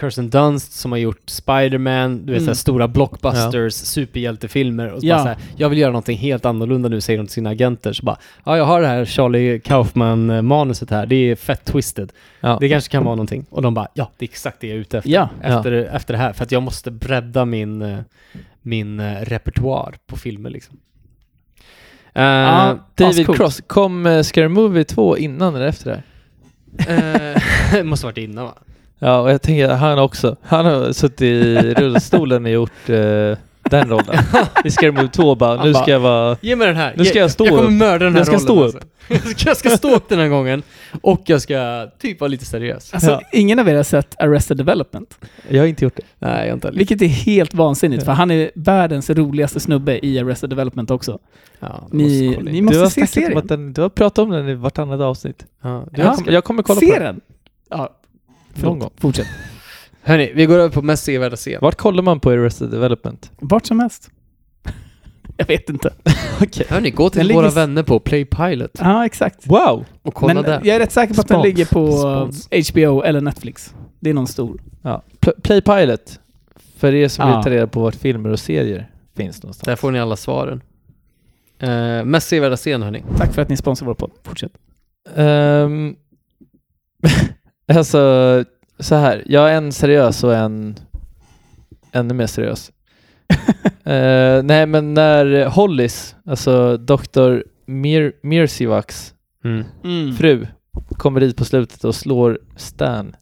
S1: Kirsten Dunst som har gjort Spider-Man, du vet
S4: Mm.
S1: så här stora blockbusters, superhjältefilmer. Och så
S4: Ja.
S1: bara så här, jag vill göra någonting helt annorlunda nu, säger de till sina agenter. Så bara, ja jag har det här Charlie Kaufman-manuset här, det är fett twisted.
S5: Ja.
S1: Det kanske kan vara någonting. Och de bara, ja det är exakt det jag är ute efter.
S4: Ja,
S1: Efter, efter det här, för att jag måste bredda min, eh, min eh, repertoar på filmer liksom. Eh,
S4: Ja,
S5: David
S4: ascoolt.
S5: Cross, kom eh, Scary Movie 2 innan eller efter det här?
S1: eh, måste varit innan va?
S5: Ja, och jag tänker att han också. Han har suttit i rullstolen och gjort eh, den rollen. I Scary Movie 2 bara, nu
S1: bara,
S5: ska jag vara...
S1: Ge mig den här.
S5: Nu ska jag stå
S1: Jag kommer
S5: upp.
S1: mörda den här
S5: Jag ska
S1: rollen
S5: stå
S1: alltså. Jag ska- jag ska stå upp den här gången. Och jag ska typ vara lite seriös.
S4: Alltså,
S5: Ja.
S4: ingen av er har sett Arrested Development.
S5: Jag har inte gjort det.
S1: Nej, jag inte
S4: Vilket är helt vansinnigt, för han är världens roligaste snubbe i Arrested Development också.
S1: Ja,
S4: Ni, ni måste
S5: du har
S4: se
S5: snackat om
S4: serien.
S5: att den, du har pratat om den i vartannat avsnitt.
S1: ja,
S4: Ja.
S5: Jag, kommer, jag kommer kolla
S4: Se
S5: på den.
S4: den! Ja,
S5: Någon
S4: förlåt.
S5: gång.
S4: Fortsätt.
S1: Hörni, vi går över på mest sevärda scen.
S5: Vart kollar man på Arrested Development?
S4: Vart som helst. Jag vet inte.
S1: Hörni, gå
S4: Den
S1: till
S4: ligger
S1: våra
S4: s-
S1: vänner på Playpilot
S4: Ja, exakt.
S5: Wow!
S1: och kolla
S4: Men
S1: där.
S4: jag är rätt säker på att den
S5: Spons.
S4: ligger på
S5: Spons.
S4: HBO eller Netflix. Det är någon stor.
S5: Ja. Pl- Play Pilot. För er som
S4: Ja.
S5: vill ta reda på vart filmer och serier finns någonstans.
S1: Där får ni alla svaren. Eh, mest sevärda scen, hörni.
S4: Tack för att ni sponsrar vår podd. Fortsätt.
S5: Ehm, alltså, så här. Jag är en seriös och en ännu mer seriös. Eh, nej, men när Hollis, alltså Dr. Mir- Mirsivax
S1: Mm.
S4: Mm.
S5: fru, kommer dit på slutet och slår Stan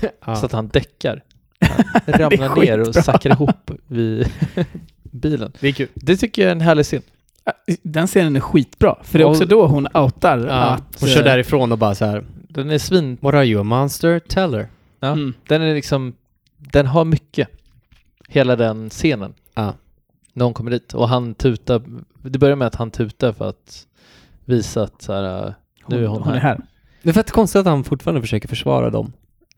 S5: så
S1: Ja.
S5: att han däckar. Han ramlar ner och
S4: skitbra.
S5: sackar ihop vid bilen.
S1: Det är kul.
S5: Det tycker jag är en härlig scen.
S4: äh, Den scenen är skitbra, för det är också
S1: Och-
S4: då hon outar
S1: Ja.
S4: att... eh,
S1: Hon kör därifrån och bara så här.
S5: Den är svin...
S1: What are you, a monster? Tell her.
S5: Ja.
S4: Mm.
S5: Den är liksom... Den har mycket. Hela den scenen.
S1: Ja.
S5: När hon kommer dit. Och han tutar... Det börjar med att han tutar för att visa att så här, äh, nu är hon, här.
S1: Det är fett konstigt att han fortfarande försöker försvara dem.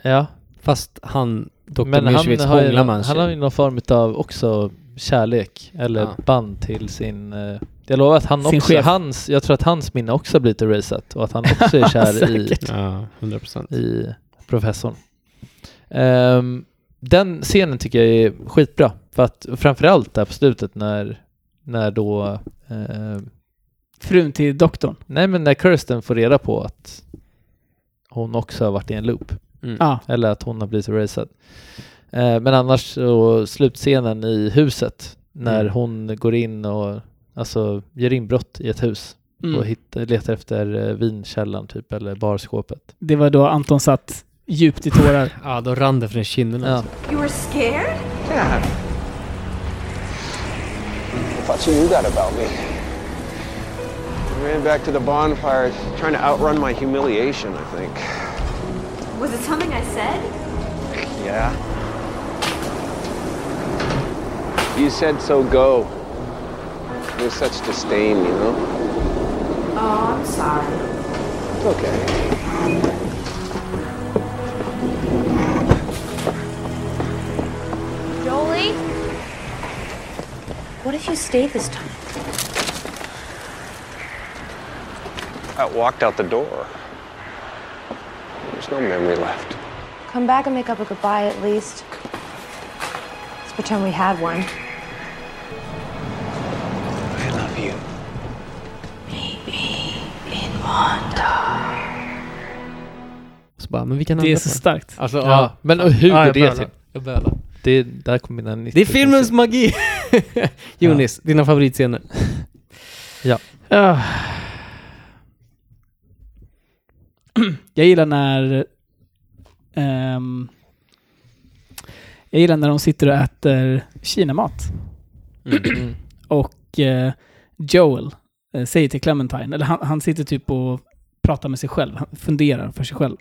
S5: äh, Ja.
S1: Fast han, Dr.
S5: Men han
S1: Mirsevits,
S5: har, ju,
S1: hånglar med
S5: någon-
S1: hans
S5: han har ju någon form av också kärlek eller
S1: Ja.
S5: band till sin... äh, Jag lovar att han
S4: Sin
S5: också,
S4: chef.
S5: hans, jag tror att hans minne också har blivit erasat och att han också är kär i
S4: Säkert.
S1: Ja, 100 procent.
S5: i professorn. Ehm, den scenen tycker jag är skitbra. För att framförallt där på slutet när, när då, eh,
S4: Frun till doktorn.
S5: nej men när Kirsten får reda på att hon också har varit i en loop.
S1: Mm.
S4: Ja.
S5: Eller att hon har blivit erasad. Eh, men annars så slutscenen i huset när
S1: Mm.
S5: hon går in och alltså gör inbrott i ett hus och
S4: Mm.
S5: hittar, letar efter eh, vinkällan typ eller barskåpet.
S4: Det var då Anton satt djupt i tårar.
S1: Ja, då rann det från kinderna.
S5: Ja.
S1: alltså.
S6: You were scared?
S7: Thought you knew that about me. I ran back to the bonfire, trying to outrun my humiliation, I think.
S6: Was it something I said?
S7: Yeah. You said so go. With such disdain, you know?
S6: Oh, I'm sorry.
S7: It's okay.
S6: Jolie?
S8: What if you stay this time?
S7: I walked out the door. There's no memory left.
S8: Come back and make up a goodbye at least. Let's pretend we had one.
S7: I love you.
S1: Så bara, men vi kan
S4: Det är
S1: ändra
S4: så
S1: på
S4: starkt.
S1: Alltså,
S5: Ja, men och hur
S1: Ja,
S5: är
S1: jag
S5: det
S1: bölar.
S5: till?
S1: Jag bölar.
S5: Det, där kom mina 90
S1: Det är filmens magi! Jonis, dina favoritscener.
S5: Ja.
S4: Öh.
S1: Ah,
S4: Jag gillar när... ehm, jag gillar när de sitter och äter kinamat.
S1: Mm.
S4: Och eh, Joel eh, säger till Clementine, eller han, han sitter typ och pratar med sig själv, han funderar för sig själv.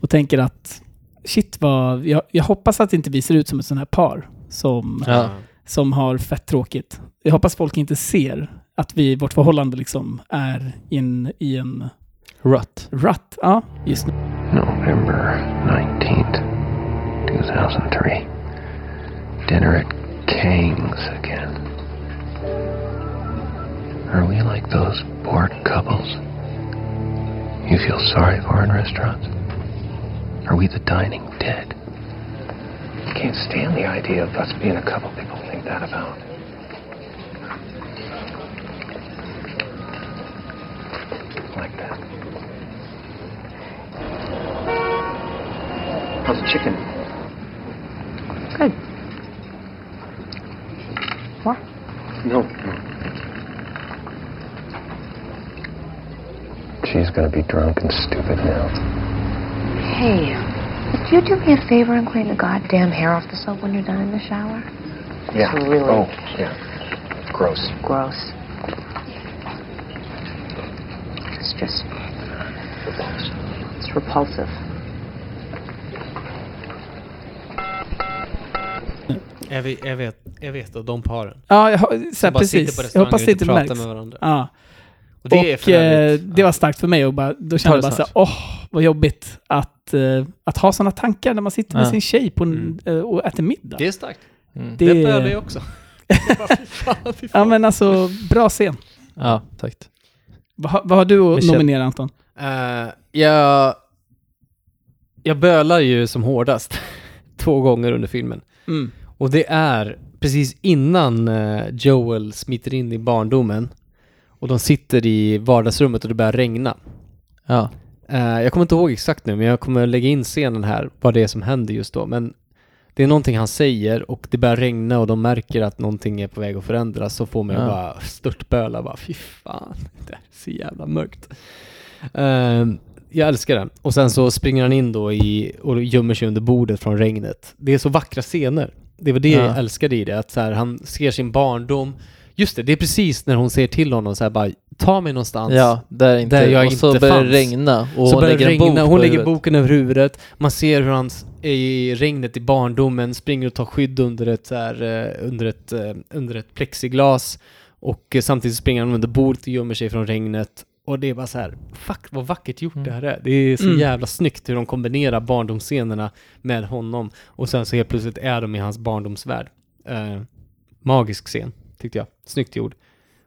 S4: Och tänker att shit vad, jag, jag hoppas att inte vi ser ut som ett sånt här par som,
S5: Ja.
S4: som har fett tråkigt. Jag hoppas folk inte ser att vi, vårt förhållande liksom är i en, i en
S5: Rutt.
S4: rutt. Ja, just nu.
S3: November 19th, 2003. Dinner at Kang's again. Are we like those bored couples you feel sorry for in restaurants? Are we the dining dead? I can't stand the idea of us being a couple people think that about. Like that. How's the chicken?
S8: Good.
S3: No. She's gonna be drunk and stupid now.
S8: Hey, would you do me a favor and clean the goddamn hair off the soap when you're done in the shower?
S3: Yeah.
S8: Really?
S3: Oh, yeah. Gross.
S8: Gross. It's just, it's repulsive.
S1: Jag vet, jag vet, jag vet och de paren.
S4: Ja, jag, ho- så här,
S1: Som bara sitter på
S4: precis.
S1: restaurangen
S4: Jag hoppas
S1: och
S4: det inte
S1: inte pratar
S4: märks.
S1: med varandra.
S4: Ja.
S1: Och
S4: Det
S1: det är
S4: och
S1: för
S4: eh,
S1: övrigt.
S4: det var starkt för mig och bara, då
S5: Ta
S4: kände
S5: det
S4: jag bara så här,
S5: snart.
S4: åh, vad jobbigt att, eh, att ha sådana tankar när man sitter med
S5: Ja.
S4: sin tjej på en,
S1: Mm.
S4: eh, och äter middag.
S1: Det är starkt.
S5: Mm.
S1: Det, behöver jag också.
S4: Ja men alltså, bra scen.
S5: Ja, tack.
S4: Vad, har- vad har du att
S5: Michelle.
S4: nominera Anton?
S1: Eh, jag, jag bölar ju som hårdast två gånger under filmen.
S4: Mm.
S1: Och det är precis innan eh, Joel smiter in i barndomen och de sitter i vardagsrummet och det börjar regna.
S5: Ja.
S1: Eh, jag kommer inte ihåg exakt nu, men jag kommer lägga in scenen här, vad det är som händer just då. Men det är någonting han säger och det börjar regna och de märker att någonting är på väg att förändras. Så får man ju
S5: Ja.
S1: bara störtböla, bara fy fan, det är så jävla mörkt. Ehm, jag älskar den. Och sen så springer han in då i, och gömmer sig under bordet från regnet. Det är så vackra scener. Det var det
S5: Ja.
S1: jag älskade i det, att så här, han ser sin barndom. Just det, det är precis när hon säger till honom så här bara, ta mig någonstans.
S5: Ja, där inte.
S1: Där jag
S5: och så
S1: inte
S5: börjar det
S1: fanns.
S5: regna och
S1: så
S5: hon
S1: börjar det
S5: lägger en bok
S1: regna,
S5: på
S1: hon lägger
S5: huvudet.
S1: boken över huvudet, man ser hur han s- är i regnet i barndomen springer och tar skydd under ett, så här, eh, under ett, eh, under ett plexiglas och eh, samtidigt springer han under bordet och gömmer sig från regnet. Och det är bara så här, fuck vad vackert gjort det här är. Det är så
S4: Mm.
S1: jävla snyggt hur de kombinerar barndomsscenerna med honom och sen så helt plötsligt är de i hans barndomsvärld. Eh, magisk scen, tyckte jag. Snyggt gjord.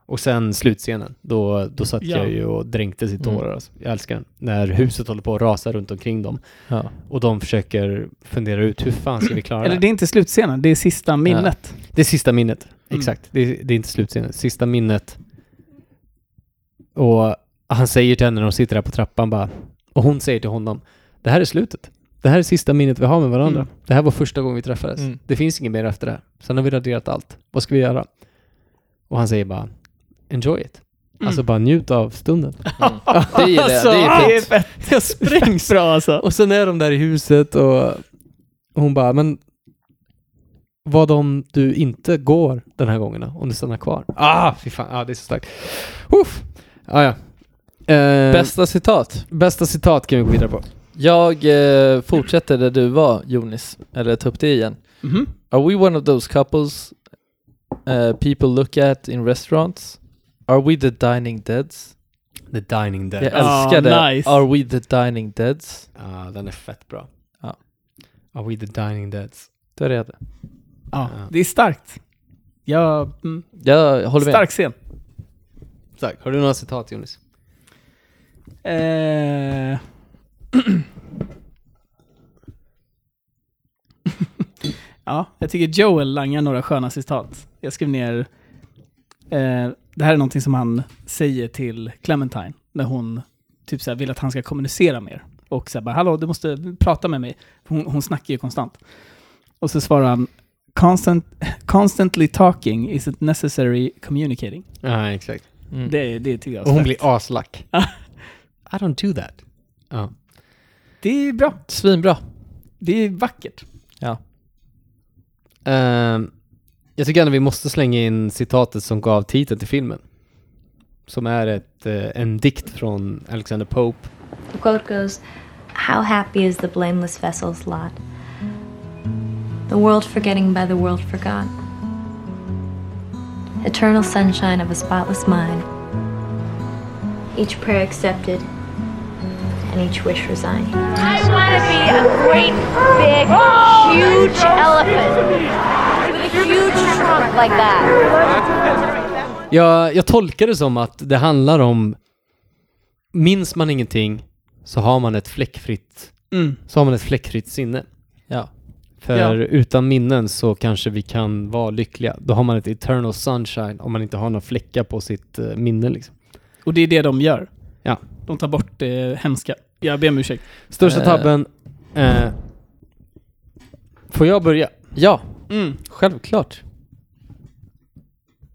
S1: Och sen slutscenen, då, då satt
S4: Ja.
S1: jag ju och dränktes i
S5: Mm.
S1: tårar. Alltså. Jag älskar den. När huset håller på att rasa runt omkring dem
S5: Ja.
S1: och de försöker fundera ut hur fan ska vi klara det
S4: Eller
S1: här?
S4: det är inte slutscenen, det är sista minnet.
S1: Det är sista minnet.
S4: Mm.
S1: Exakt. Det är, det är inte slutscenen. Sista minnet. Och han säger till henne när de sitter där på trappan bara, och hon säger till honom, det här är slutet. Det här är sista minnet vi har med varandra.
S4: Mm.
S1: Det här var första gången vi träffades.
S5: Mm.
S1: Det finns inget mer efter det här. Sen har vi raderat allt. Vad ska vi göra? Och han säger bara, enjoy it.
S4: Mm.
S1: Alltså bara njut av stunden.
S5: Mm.
S1: Alltså,
S5: Det gillar jag, det är fint.
S4: fett. Jag sprängs bra alltså.
S1: Och sen är de där i huset och hon bara, men vad om du inte går den här gången då? Om du stannar kvar? Ah, fy fan. Ah, det är så starkt. Uff. Ah, ja. Eh,
S5: Bästa citat?
S1: Bästa citat kan vi gå vidare på.
S5: Jag eh, fortsätter där du var Jonis, eller tar upp det igen.
S4: Mhm.
S5: Are we one of those couples uh, people look at in restaurants? Are we the dining deads?
S1: The Dining Dead.
S5: Jag
S1: Ja,
S4: Ah,
S5: älskar det.
S4: nice.
S5: Are we the dining deads?
S1: ah, den är fett bra.
S5: Ja.
S1: Are we the Dining Deads?
S5: Det är det jag hade.
S4: Ja, det är starkt. Ja, mm,
S5: Jag håller med.
S4: stark scen.
S1: Tack. Har du några citat Jonas?
S4: Eh. ja, jag tycker Joel langar några sköna citat. Jag skrev ner... Eh, det här är någonting som han säger till Clementine när hon typ så här, vill att han ska kommunicera mer. Och så här, bara, hallå, du måste prata med mig. För Hon, hon snackar ju konstant. Och så svarar han Constant, constantly talking isn't necessary communicating.
S1: Ja, exakt.
S5: Mm.
S4: Det, det tycker jag
S1: Och hon
S4: är
S1: blir
S4: starkt.
S1: aslack. I don't do that. Ja.
S4: Det är bra.
S5: Svinbra.
S4: Det är vackert.
S1: Ehm, jag tycker ändå vi måste slänga in citatet som gav titeln till filmen. Som är ett, eh, en dikt från Alexander Pope.
S9: The quote goes How happy is the blameless vessel's lot? The world forgetting by the world forgot. Eternal sunshine of a spotless mind. Each prayer accepted and each wish resigned.
S10: I want to be a great, big, huge elephant with a huge trunk like that.
S1: Jag, jag tolkar det som att det handlar om minns man ingenting så har man ett fläckfritt,
S4: Mm.
S1: så har man ett fläckfritt sinne.
S5: Ja.
S1: För utan minnen så kanske vi kan vara lyckliga. Då har man ett eternal sunshine om man inte har några fläckar på sitt eh, minne. Liksom.
S4: Och det är det de gör.
S1: Ja.
S4: De tar bort det hemska. Jag ber om ursäkt.
S1: Största
S5: Eh.
S1: tabben. Eh, får jag börja?
S5: Ja,
S4: Mm.
S5: självklart.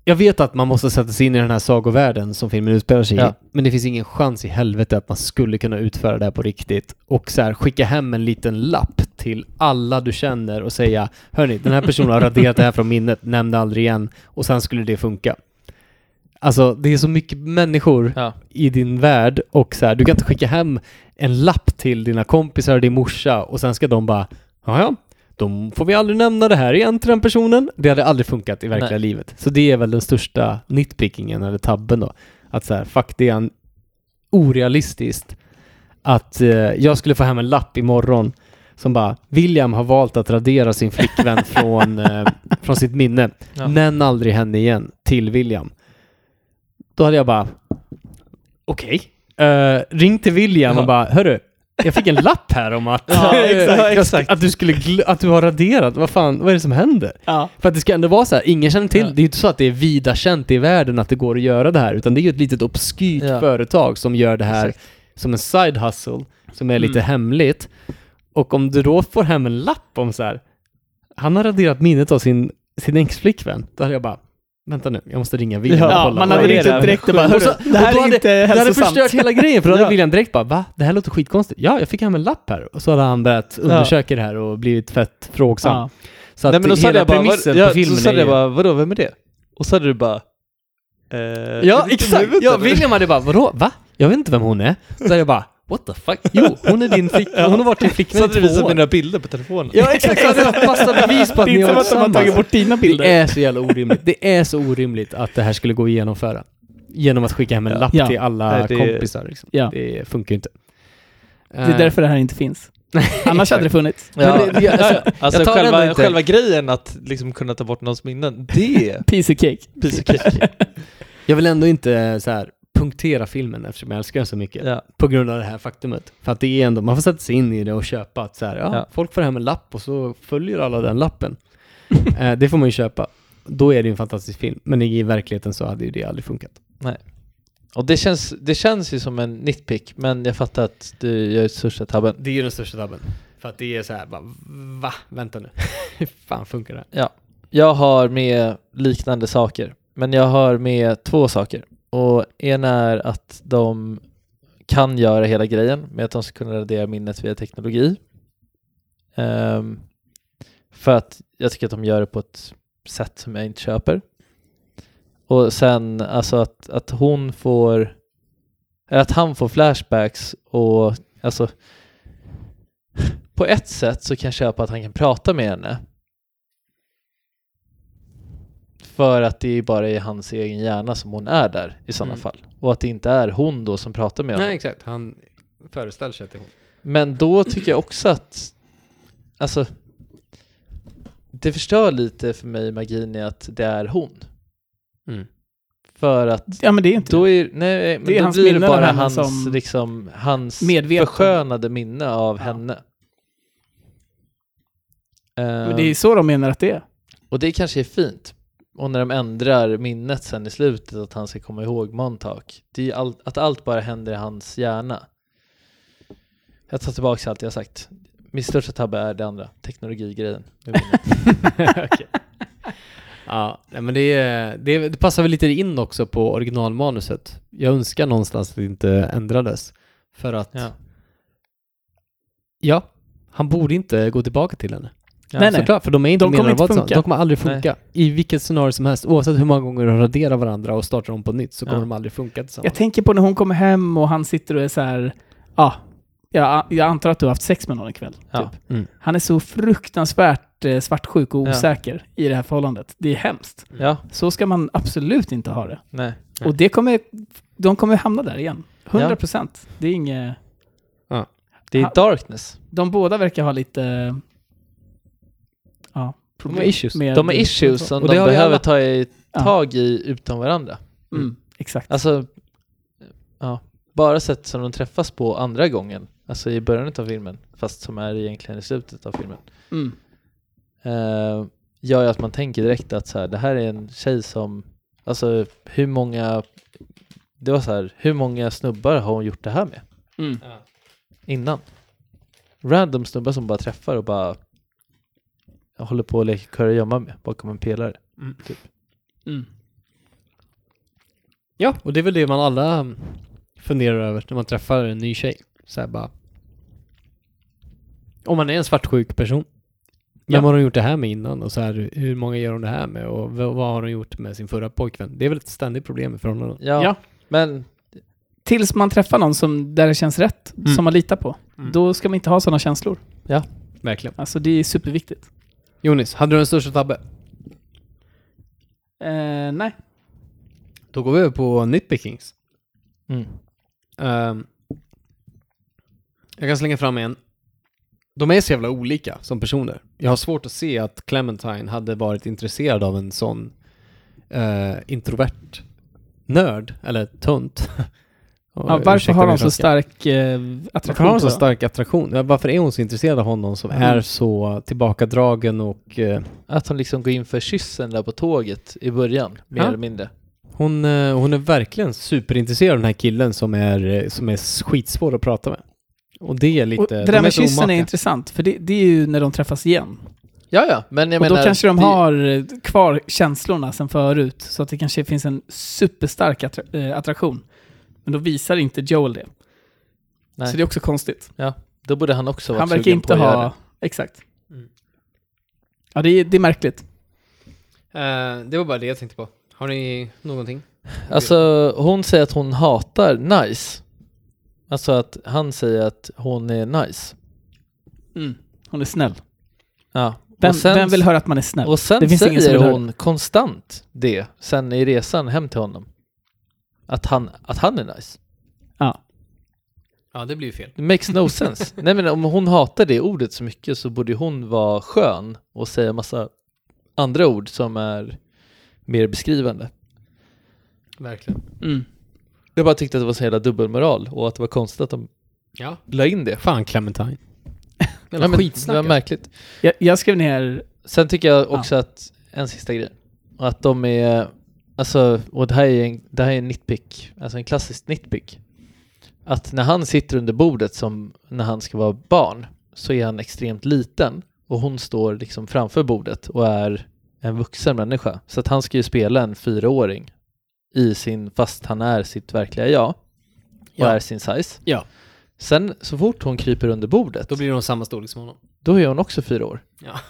S1: Jag vet att man måste sätta sig in i den här sagovärlden som filmen utspelar sig
S5: Ja.
S1: i. Men det finns ingen chans i helvete att man skulle kunna utföra det här på riktigt. Och så här, skicka hem en liten lapp till alla du känner och säga Hörni, den här personen har raderat det här från minnet, nämnde aldrig igen. Och sen skulle det funka. Alltså, det är så mycket människor
S5: Ja.
S1: i din värld och så här, du kan inte skicka hem en lapp till dina kompisar och din morsa och sen ska de bara ja, då får vi aldrig nämna det här igen till den personen. Det hade aldrig funkat i verkliga
S5: Nej.
S1: livet. Så det är väl den största nitpickingen eller tabben då. Att så här, fuck det är en orealistiskt att eh, jag skulle få hem en lapp imorgon som bara William har valt att radera sin flickvän från, eh, från sitt minne.
S5: Ja.
S1: Nämn aldrig henne igen till William. Då hade jag bara okej. Eh, ring till William och
S5: Ja.
S1: bara hörru, jag fick en lapp här om att,
S5: Ja,
S1: jag
S5: exakt,
S1: sk-
S5: exakt.
S1: att, du skulle gl- att du har raderat. Vad fan, vad är det som händer?
S4: Ja.
S1: För att det ska ändå vara så här, ingen känner till,
S5: Ja.
S1: det är ju inte så att det är vida känt i världen att det går att göra det här, utan det är ju ett litet obskyrt
S5: Ja.
S1: företag som gör det här som en side hustle, som är lite
S4: Mm.
S1: hemligt. Och om du då får hem en lapp om så här, han har raderat minnet av sin, sin ex-flickvän, då hade jag bara, vänta nu, jag måste ringa William och
S4: Ja,
S1: kolla.
S4: man
S1: vad
S4: hade
S1: är
S4: ringt
S1: det
S4: upp
S1: här?"
S4: direkt och bara
S1: Och så-
S4: "Hörru, det
S1: och då
S4: här är
S1: hade-
S4: inte
S1: det hade
S4: hälsosamt.
S1: förstört hela grejen, för då hade
S4: Ja.
S1: William direkt bara va? Det här låter skitkonstigt. Ja, jag fick hem en lapp här. Och så hade han börjat undersöka det här och blivit fett frågsam.
S4: Ja.
S1: Så att
S5: Nej men då sa
S1: hela
S5: jag bara, vad,
S1: premissen
S5: ja,
S1: på filmen
S5: så sa
S1: är ju...
S5: jag bara, vadå, vem är det? Och så hade du bara, eh, är du
S1: Ja,
S5: dum i
S1: exakt!
S5: huvudet,
S1: Ja,
S5: eller?
S1: William hade bara, vadå, va? Jag vet inte vem hon är. Så hade jag bara, what the fuck? Jo, hon är din flickvän. Hon har varit din
S5: Så
S1: flickvän i
S5: hade du
S1: två
S5: visat
S1: år.
S5: mina bilder på telefonen.
S1: Ja, exakt! Så hade jag haft massa bevis på att
S4: Det
S1: ni
S4: är inte
S1: har
S4: som
S1: varit
S4: att de har
S1: tillsammans. Eh.
S4: tagit bort dina bilder.
S1: Det är så jävla orimligt. Det är så orimligt att det här skulle gå att genomföra. Genom att skicka hem en lapp
S4: Ja.
S1: till alla
S5: Nej, det-
S1: kompisar. Liksom.
S4: Ja.
S1: Det funkar ju inte. Eh, Det
S4: Det är därför det här inte finns. Annars hade det funnits.
S5: Ja.
S1: Men det- det- alltså,
S5: alltså
S1: jag tar ändå
S5: själva,
S1: inte-
S5: själva grejen att liksom kunna ta bort någons minnen, det är
S4: Piece of cake.
S5: piece of cake.
S1: Jag vill ändå inte eh, så här, punktera filmen eftersom jag älskar den så mycket.
S5: Ja.
S1: På grund av det här faktumet. För att det är ändå, man får sätta sig in i det och köpa att så här, ja,
S5: Ja.
S1: folk får hem en lapp och så följer alla den lappen. eh, det får man ju köpa. Då är det ju en fantastisk film. Men i verkligheten så hade ju det aldrig funkat.
S5: Och det känns, det känns ju som en nitpick, men jag fattar att du gör största tabben.
S1: Det är ju den största tabben. För att det är så här, bara, va? Vänta nu. Hur fan funkar det här?
S5: Jag har med liknande saker, men jag har med två saker. Och en är att de kan göra hela grejen med att de ska kunna radera minnet via teknologi. Ehm, för att jag tycker att de gör det på ett sätt som jag inte köper. Och sen alltså att, att hon får, eller att han får flashbacks och alltså på ett sätt så kan jag köpa att han kan prata med henne. För att det är bara i hans egen hjärna som hon är där i sådana
S1: Mm.
S5: fall. Och att det inte är hon då som pratar med honom.
S1: Nej, exakt. Han föreställer sig att det är hon.
S5: Men då tycker jag också att, alltså, det förstör lite för mig magin i att det är hon.
S1: Mm.
S5: För att
S4: Ja, men det är inte
S5: då är, nej, men
S4: Det är
S5: då
S4: hans
S5: blir det
S4: minnen av
S5: bara
S4: henne
S5: hans,
S4: som-
S5: liksom, hans
S4: Medveten.
S5: förskönade minne av
S4: Ja.
S5: henne.
S4: det.
S5: Ehm,
S4: Men det är så de menar att det är.
S5: och det kanske är fint. Och när de ändrar minnet sen i slutet att han ska komma ihåg Montauk. Det är ju allt- att allt bara händer i hans hjärna. Jag tar tillbaka allt jag har sagt. Min största tabbe är det andra, teknologigrejen.
S1: Okej. Ja, nej, men det, är- det, det passar väl lite in också på originalmanuset. Jag önskar någonstans att det inte ändrades. För att...
S5: Ja.
S1: Ja, han borde inte gå tillbaka till henne.
S5: Ja,
S1: nej,
S4: nej.
S1: Såklart, för de är inte
S4: De kommer inte
S1: medarbetare.
S4: funka.
S1: De kommer aldrig funka. I vilket scenario som helst, oavsett hur många gånger de raderar varandra och startar om på nytt så kommer
S5: Ja.
S1: de aldrig funka
S4: Jag
S1: tillsammans.
S4: tänker på när hon kommer hem och han sitter och är så här, ja, jag, jag antar att du har haft sex med någon ikväll.
S5: Ja.
S4: Typ.
S1: Mm.
S4: Han är så fruktansvärt eh, svartsjuk och
S5: Ja.
S4: osäker i det här förhållandet. Det är hemskt.
S5: Ja,
S4: Så ska man absolut inte ha det.
S5: nej.
S1: Nej.
S4: Och det kommer, de kommer hamna där igen. 100 procent. Det är inget...
S5: Det är
S4: Ha-
S5: darkness.
S4: De båda verkar ha lite... Ja.
S1: De har issues.
S4: med-
S5: De är issues som
S1: Och
S5: de
S1: det har vi alla.
S5: behöver ta i,
S4: Ja.
S5: tag i utan varandra.
S4: Mm, exakt.
S5: Alltså, ja, bara sätt som de träffas på andra gången, alltså i början av filmen, fast som är egentligen i slutet av filmen,
S4: Mm.
S5: eh, gör ju att man tänker direkt att så här, det här är en tjej som, alltså hur många, det var så här, hur många snubbar har hon gjort det här med
S4: Mm.
S5: innan? Random snubbar som bara träffar och bara håller på och leker kurragömma med bakom en pelare.
S4: Mm.
S1: Ja, och det är väl det man alla mm, funderar över när man träffar en ny tjej. Så här bara... Om man är en svartsjuk person. Vem
S5: Ja.
S1: har hon gjort det här med innan? Och så här, hur många gör hon det här med? Och v- vad har hon gjort med sin förra pojkvän? Det är väl ett ständigt problem i förhållanden.
S5: Ja,
S4: Ja.
S5: men
S4: Tills man träffar någon som, där det känns rätt,
S1: Mm.
S4: som man litar på.
S1: Mm.
S4: Då ska man inte ha sådana känslor.
S1: Verkligen.
S4: Alltså det är superviktigt.
S1: Jonis, hade du den största tabbe?
S4: Eh, nej.
S1: Då går vi över på nitpickings.
S5: mm.
S1: Ehm, jag kan slänga fram en. De är så jävla olika som personer. Jag har svårt att se att Clementine hade varit intresserad av en sån eh, introvert nörd, eller tunt.
S4: Ja, varför har hon så stark eh,
S1: Varför
S4: attraktion?
S1: har hon så
S4: till varandra?
S1: stark attraktion? Ja, Varför är hon så intresserad av honom som
S4: Mm.
S1: är så tillbakadragen och eh,
S5: Att hon liksom går in för kyssen där på tåget i början, mer
S1: Ja.
S5: eller mindre.
S1: hon, eh, hon är verkligen superintresserad av den här killen som är, eh, som är skitsvår att prata med. Och det är lite...
S4: Och det
S1: de
S4: där med
S1: så
S4: kyssen är
S1: omaka.
S4: intressant, för det, det är ju när de träffas igen.
S5: Ja, ja, men jag
S4: och
S5: menar...
S4: då kanske de
S5: det-
S4: har eh, kvar känslorna sen förut, så att det kanske finns en superstark attra- eh, attraktion. Men då visar inte Joel det.
S5: Nej.
S4: Så det är också konstigt.
S5: Då borde han också vara
S4: Han verkar inte ha... Exakt. Ja, det är, det är märkligt.
S1: Eh, det var bara det jag tänkte på. Har ni någonting?
S5: Alltså, hon säger att hon hatar nice. Alltså att han säger att hon är nice.
S4: Hon är snäll.
S5: Ja.
S4: Vem,
S5: och sen,
S4: vem vill höra att man är snäll?
S5: Och sen
S4: Det finns ingen som
S5: säger
S4: vill höra
S5: hon konstant det, sen i resan hem till honom. Att han, att han är nice.
S4: Ja.
S1: Ja, det blir ju fel.
S5: It makes no sense. Nej men om hon hatar det ordet så mycket så borde hon vara skön och säga massa andra ord som är mer beskrivande.
S1: Verkligen.
S4: Mm.
S5: Jag bara tyckte att det var så jävla dubbelmoral och att det var konstigt att de
S1: Ja.
S5: la in det.
S1: Fan Clementine.
S5: Ja, men det var märkligt.
S4: Jag, jag skrev ner...
S5: Sen tycker jag också att, en sista grej, att de är, alltså, och det här är en, det här är en nitpick, alltså en klassisk nitpick. Att när han sitter under bordet som när han ska vara barn så är han extremt liten och hon står liksom framför bordet och är en vuxen människa. Så att han ska ju spela en fyraåring i sin, fast han är sitt verkliga jag och
S1: Ja.
S5: är sin size.
S1: Ja.
S5: Sen så fort hon kryper under bordet,
S1: Då blir de samma storlek som honom.
S5: då är hon också fyra år.
S1: Ja.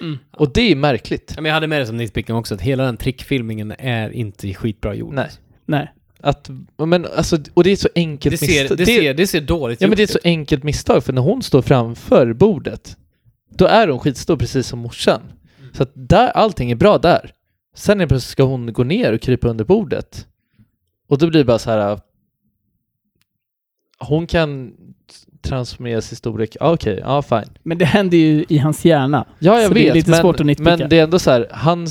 S1: Mm.
S5: Och det är märkligt.
S1: Ja, men jag hade med det som nitpicken också, att hela den trickfilmningen är inte skitbra gjord.
S5: Nej.
S4: Nej.
S5: Att, men alltså, och det är ett så
S1: Det
S5: enkelt
S1: ser,
S5: misstag.
S1: det, ser, det ser dåligt
S5: ja, men
S1: gjort
S5: det är ett så
S1: ut.
S5: enkelt misstag, för när hon står framför bordet, då är hon skitstor precis som morsan.
S1: Mm.
S5: Så att där, allting är bra där. Sen är plötsligt ska hon gå ner och krypa under bordet. Och då blir det bara så här... äh, Hon kan transformera sig storlek. Ah, Okej, ja fine.
S4: Men det händer ju i hans hjärna.
S5: Ja,
S4: Så
S5: jag
S4: det
S5: vet.
S4: är lite
S5: men,
S4: svårt att nitpicka.
S5: men det är ändå så här, han,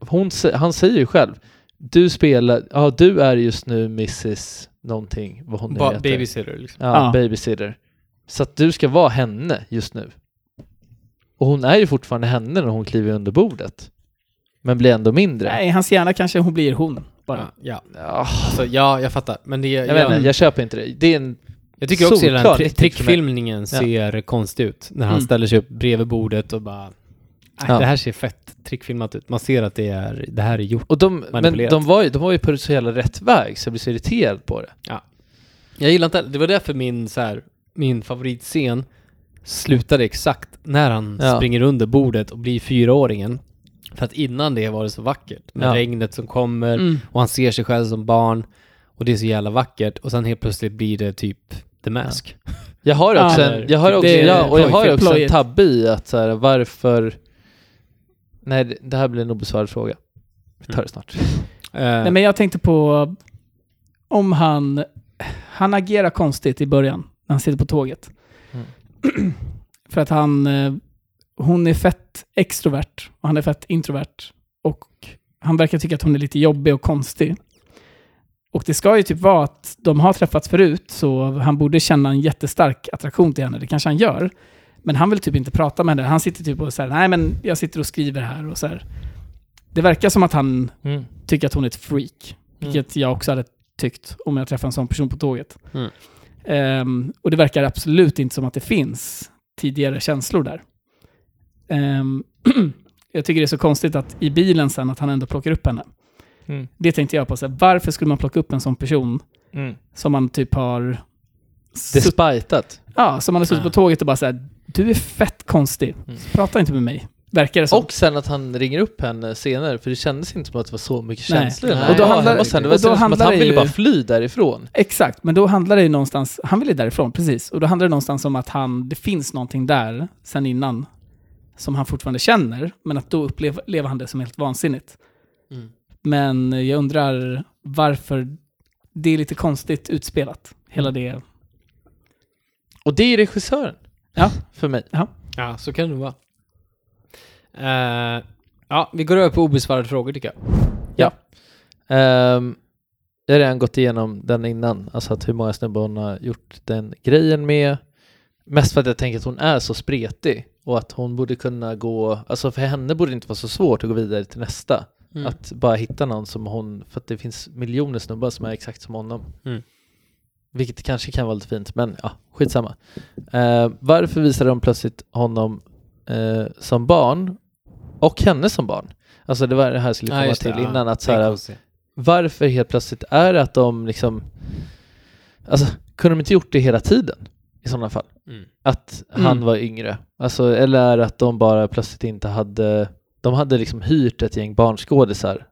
S5: hon, sä- han säger ju själv, du spelar, ja du är just nu mrs någonting, vad hon nu
S1: Ba-
S5: heter.
S1: babysitter liksom.
S5: ja,
S4: Ja.
S5: babysitter. Så att du ska vara henne just nu. Och hon är ju fortfarande henne när hon kliver under bordet. Men blir ändå mindre.
S4: Nej, i hans hjärna kanske hon blir hon bara.
S1: Ja, ja.
S5: Ah,
S1: Alltså, ja, jag fattar. Men det...
S5: jag, vet inte, jag köper inte det. Det är en
S1: Jag tycker också att den
S5: Solklar
S1: tri-
S5: riktigt för mig.
S1: trickfilmningen
S5: Ja.
S1: ser konstig ut. När han
S5: Mm.
S1: ställer sig upp bredvid bordet och bara... "Nej,
S5: Ja.
S1: Det här ser fett trickfilmat ut. Man ser att det, är, det här är gjort.
S5: Och de, men
S1: Manipulerat.
S5: de var, ju, de var ju på så jävla rätt väg så jag blir så irriterad på det.
S1: Jag gillar inte det. var därför min, så här, min favoritscen slutade exakt när han
S5: Ja.
S1: springer under bordet och blir fyraåringen. För att innan det var det så vackert. Med
S5: Ja.
S1: regnet som kommer
S5: Mm.
S1: och han ser sig själv som barn. Och det är så jävla vackert. Och sen helt plötsligt blir det typ The Mask.
S5: Jag har också,
S1: Ja.
S5: en, jag har
S1: Det
S5: också,
S1: är
S5: ja, och jag har
S1: plojigt.
S5: också en
S1: Plojigt.
S5: tabbe i att så här, varför... Nej, det- det här blir en obesvarad fråga. Vi tar det snart.
S1: Eh,
S4: Nej, men jag tänkte på om han... Han agerar konstigt i början när han sitter på tåget.
S5: Mm.
S4: För att han... eh, Hon är fett extrovert och han är fett introvert. Och han verkar tycka att hon är lite jobbig och konstig. Och det ska ju typ vara att de har träffats förut, så han borde känna en jättestark attraktion till henne. Det kanske han gör. Men han vill typ inte prata med henne. Han sitter typ och säger nej men jag sitter och skriver här och så här. Det verkar som att han
S5: Mm.
S4: tycker att hon är ett freak. Vilket jag också hade tyckt om jag träffade en sån person på tåget.
S1: Mm.
S4: Ehm, och det verkar absolut inte som att det finns tidigare känslor där. Ehm, jag tycker det är så konstigt att i bilen sen att han ändå plockar upp henne.
S5: Mm.
S4: Det tänkte jag på, så här, varför skulle man plocka upp en sån person
S5: Mm.
S4: som man typ har... sutt-
S5: Despiteat.
S4: ja, som man har suttit på
S1: Ah.
S4: tåget och bara såhär, du är fett konstig, prata inte med mig. Verkar det som.
S5: Och sen att han ringer upp henne senare, för det kändes inte som att det var så mycket
S4: Nej.
S5: känslor.
S1: Nej.
S5: Och då
S1: Ja,
S5: handlar, det,
S1: herregud.
S5: sen, det
S4: Och då
S5: var som att
S4: handlar
S5: han
S4: det
S5: ville
S4: ju-
S5: bara fly därifrån.
S4: Exakt, men då handlar det ju någonstans, han ville därifrån, precis. Och då handlar det någonstans om att han, det finns någonting där sen innan som han fortfarande känner, men att då upplever han det som helt vansinnigt.
S1: Mm.
S4: Men jag undrar varför det är lite konstigt utspelat, hela
S1: Mm.
S4: det.
S5: Och det är regissören.
S4: Ja.
S5: För mig.
S1: Ja, så kan det nog vara. Eh, ja, vi går över på obesvarade frågor tycker jag.
S5: Ehm, jag har redan gått igenom den innan, alltså att hur många snubbar hon har gjort den grejen med. Mest för att jag tänker att hon är så spretig och att hon borde kunna gå, alltså för henne borde det inte vara så svårt att gå vidare till nästa.
S1: Att,
S5: Att bara hitta någon som hon, för att det finns miljoner snubbar som är exakt som honom.
S1: Mm.
S5: Vilket kanske kan vara lite fint, men ja, skitsamma. Eh, varför visade de plötsligt honom eh, som barn och henne som barn? Alltså det var det här jag skulle
S1: Ja,
S5: komma
S1: just det,
S5: till
S1: ja.
S5: innan, att så
S1: det är
S5: här,
S1: konstigt.
S5: varför helt plötsligt är det att de liksom, alltså kunde de inte gjort det hela tiden i sådana fall?
S1: Mm.
S5: Att
S4: Mm.
S5: han var yngre, alltså, eller är det att de bara plötsligt inte hade, de hade liksom hyrt ett gäng barnskådisar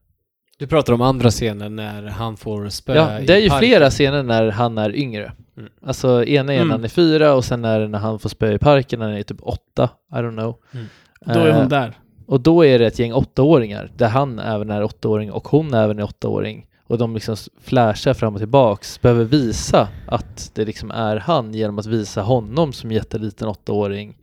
S1: Du pratar om andra scenen när han får spö
S5: Ja,
S1: i
S5: det är ju
S1: parken.
S5: flera scener när han är yngre.
S1: Mm.
S5: Alltså ena är
S4: Mm.
S5: när han är fyra och sen är det när han får spö i parken när han är typ åtta. I don't know.
S1: Mm.
S4: Då är
S5: Eh,
S4: hon där.
S5: och då är det ett gäng åttaåringar där han även är åttaåring och hon även är åttaåring. Och de liksom s- flashar fram och tillbaks, behöver visa att det liksom är han genom att visa honom som jätteliten åttaåring.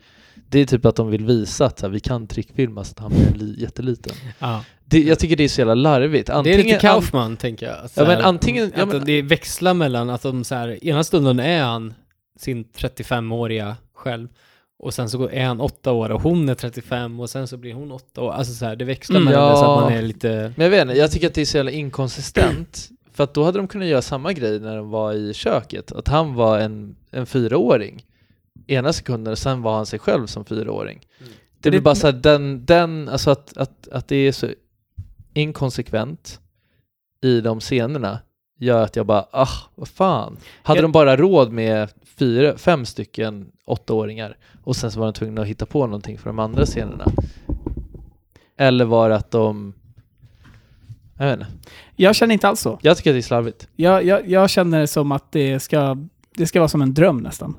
S5: Det är typ att de vill visa att så här, vi kan trickfilma så att han blir li- jätteliten.
S1: Ja.
S5: Det, jag tycker det är så jävla larvigt.
S1: Det är lite
S5: Antingen-
S1: Kaufman, tänker jag. Så
S5: Ja, men
S1: här,
S5: antingen- ja,
S1: att
S5: men-
S1: det växlar mellan att de så här, ena stunden är han sin 35-åriga själv och sen så går- är han åtta år och hon är 35 och sen så blir hon åtta år. Alltså så här, det växlar
S5: Mm,
S1: mellan det så att man
S5: ja.
S1: är lite...
S5: Men jag vet inte, jag tycker att det är så jävla inkonsistent. För att då hade de kunnat göra samma grej när de var i köket. Att han var en, en fyraåring ena sekunden och sen var han sig själv som fyraåring. Det blir
S4: Det-
S5: bara så här, den, den, alltså att, att, att det är så inkonsekvent i de scenerna gör att jag bara, ah, vad fan. Hade
S1: Jag-
S5: de bara råd med fyra, fem stycken åttaåringar och sen så var de tvungna att hitta på någonting för de andra scenerna? Eller var det att de, jag vet inte.
S4: Jag känner inte alls så.
S5: Jag tycker att det är slarvigt.
S4: Jag, jag, jag känner det som att det ska, det ska vara som en dröm nästan.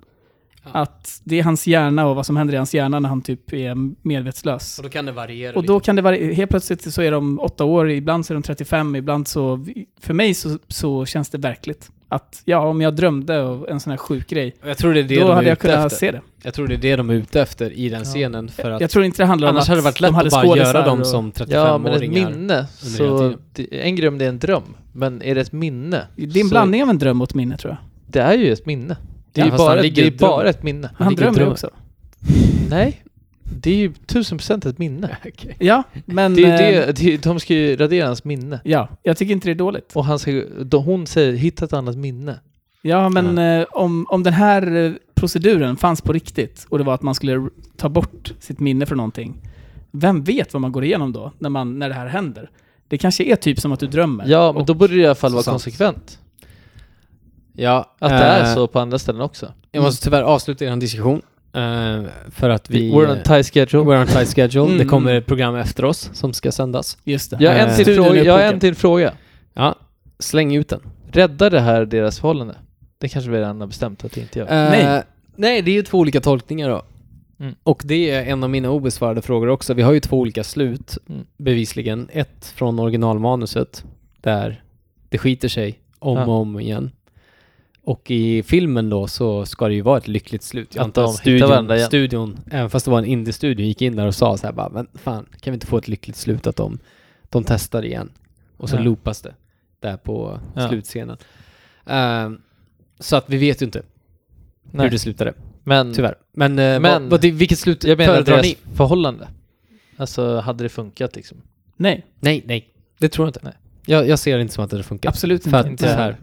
S1: Ja.
S4: Att det är hans hjärna och vad som händer i hans hjärna när han typ är medvetslös.
S1: Och då kan det variera
S4: Och då kan det vara, helt plötsligt så är de åtta år, ibland så är de 35, ibland så... För mig så, så känns det verkligt. Att ja, om jag drömde av en sån här sjuk grej,
S1: Jag tror det är det
S4: då
S1: de
S4: hade
S1: är
S4: jag
S1: ute
S4: kunnat
S1: efter.
S4: se det.
S1: Jag tror det är det de är ute efter i den scenen för att
S4: Jag tror inte det handlar om
S1: annars
S4: att
S1: hade det varit lätt
S4: de hade
S1: att bara göra
S4: skådisar
S1: dem
S4: och-
S1: som
S5: Ja, men ett
S1: 35-åringar.
S5: minne.
S1: hela
S5: Så
S1: tiden.
S5: det, en grej om det är en dröm, men är det ett minne?
S4: Det är en
S5: så-
S4: blandning av en dröm och ett minne tror jag.
S5: Det är ju ett minne. Det
S1: Ja,
S5: är ju
S1: fast han
S5: bara,
S1: ligger
S5: det är
S1: i drömmen.
S5: bara ett minne.
S4: Han,
S1: ligger i
S4: drömmer ju
S1: drömmen.
S4: också.
S5: Nej, det är ju tusen procent ett minne.
S4: Ja, men...
S5: Det är
S4: eh,
S5: ju det, det, är- de ska ju radera hans minne.
S4: Ja, jag tycker inte det är dåligt.
S5: Och han ska, då hon säger hitta ett annat minne.
S4: Ja, men eh, om, om den här eh, proceduren fanns på riktigt och det var att man skulle r- ta bort sitt minne från någonting. Vem vet vad man går igenom då, när, man, när det här händer? Det kanske är typ som att du drömmer.
S5: Ja, men då borde det i alla fall vara
S4: Sant.
S5: konsekvent.
S1: Ja,
S5: Att det är
S1: eh,
S5: så på andra ställen också.
S1: Jag måste tyvärr avsluta er diskussion. eh, för att vi...
S5: We're on a tight schedule.
S1: We're on a tight schedule.
S5: Mm.
S1: Det kommer ett program efter oss som ska sändas.
S4: Just det.
S5: Jag har en
S1: Eh,
S5: till
S1: studien
S5: fråga.
S1: är
S5: Jag har en
S1: uppbokad.
S5: till fråga.
S1: Ja, släng ut den.
S5: Räddar det här deras förhållande? Det kanske vi redan har bestämt att det inte gör.
S1: Eh,
S4: Nej.
S1: Nej, det är ju två olika tolkningar då.
S5: Mm.
S1: Och det är en av mina obesvarade frågor också. Vi har ju två olika slut,
S5: Mm.
S1: bevisligen. Ett från originalmanuset, där det skiter sig om
S5: Ja.
S1: och om igen. Och i filmen då så ska det ju vara ett lyckligt slut. Jag
S5: Att
S1: antar
S5: de
S1: att
S5: hittar varandra
S1: studion,
S5: igen.
S1: studion, även fast det var en indie-studio, gick in där och sa så här bara, men fan, kan vi inte få ett lyckligt slut att de, de testar igen? Och så
S5: Ja.
S1: loopas det där på
S5: Ja.
S1: slutscenen. Ehm, så att vi vet ju inte
S5: Nej.
S1: hur det slutade.
S5: Men
S1: Tyvärr. Mm. Men, eh,
S5: Men-
S1: vad, vad, det- vilket slut
S5: jag menar
S1: föredrar
S5: deras
S1: ni?
S5: förhållande. Alltså, hade det funkat liksom?
S4: Nej,
S1: Nej, nej. Det tror jag inte.
S5: Nej.
S1: Jag, jag ser det inte som att det funkar.
S4: absolut
S1: För
S4: inte.
S1: att så här,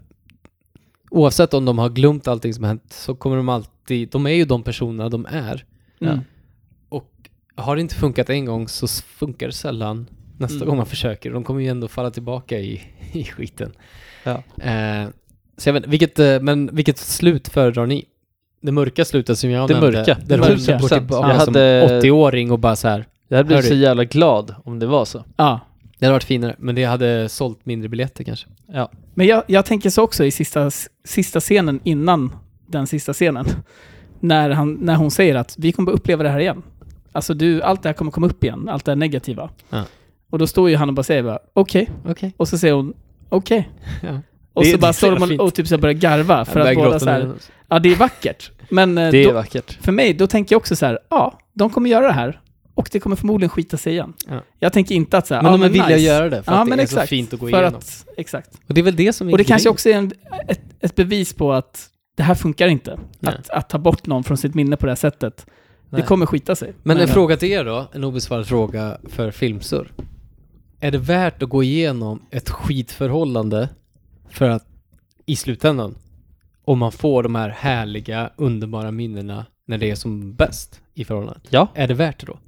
S1: oavsett om de har glömt allting som har hänt så kommer de alltid, de är ju de personerna de är.
S4: Mm.
S1: Och har det inte funkat en gång så s- funkar det sällan nästa
S4: Mm.
S1: gång man försöker. De kommer ju ändå falla tillbaka i, i skiten.
S5: Ja.
S1: Eh, så jag vet, vilket, eh, men vilket slut föredrar ni? Det mörka slutet som jag
S5: Det
S1: nämnde.
S5: mörka.
S1: Där hon
S5: Tusen
S1: går
S5: procent.
S1: tillbaka
S5: Jag
S1: som
S5: hade-
S1: 80-åring och bara så här.
S5: Jag hade blivit
S1: Hörru.
S5: så jävla glad om det var så.
S4: Ja.
S1: Det hade varit finare, men det hade sålt mindre biljetter kanske.
S5: Ja.
S4: Men jag, jag tänker så också i sista, sista scenen innan den sista scenen. När, han, när hon säger att vi kommer uppleva det här igen. Alltså du, allt det här kommer komma upp igen, allt det här negativa.
S1: Ja.
S4: Och då står ju han och bara säger bara okej.
S1: Okej.
S4: Och så säger hon okej.
S1: Ja.
S4: Och
S1: Det-
S4: så
S1: det är
S4: bara
S1: så jävla
S4: står de
S1: fint.
S4: och- och typ så här börjar garva för att båda så här, ja det är vackert. Men eh,
S5: Det är
S4: då,
S5: vackert.
S4: för mig, då tänker jag också så här, ja, de kommer göra det här. Och det kommer förmodligen skita sig igen.
S1: Ja.
S4: Jag tänker inte att så här,
S1: Men
S4: ja,
S1: de är villiga
S4: nice.
S1: att göra det för
S4: ja,
S1: att
S4: men
S1: det är
S4: exakt,
S1: så fint att gå
S4: för
S1: igenom.
S4: Att, exakt.
S1: Och det är väl det som är
S4: Och det
S1: grejen.
S4: kanske också är en, ett, ett bevis på att det här funkar inte.
S1: Nej.
S4: Att, att ta bort någon från sitt minne på det här sättet.
S1: Nej.
S4: Det kommer skita sig.
S1: Men en fråga till er då, en obesvarad fråga för Filmsur. Är det värt att gå igenom ett skitförhållande för att i slutändan, om man får de här härliga, underbara minnena när det är som bäst i förhållandet?
S5: Ja.
S1: Är det värt det då?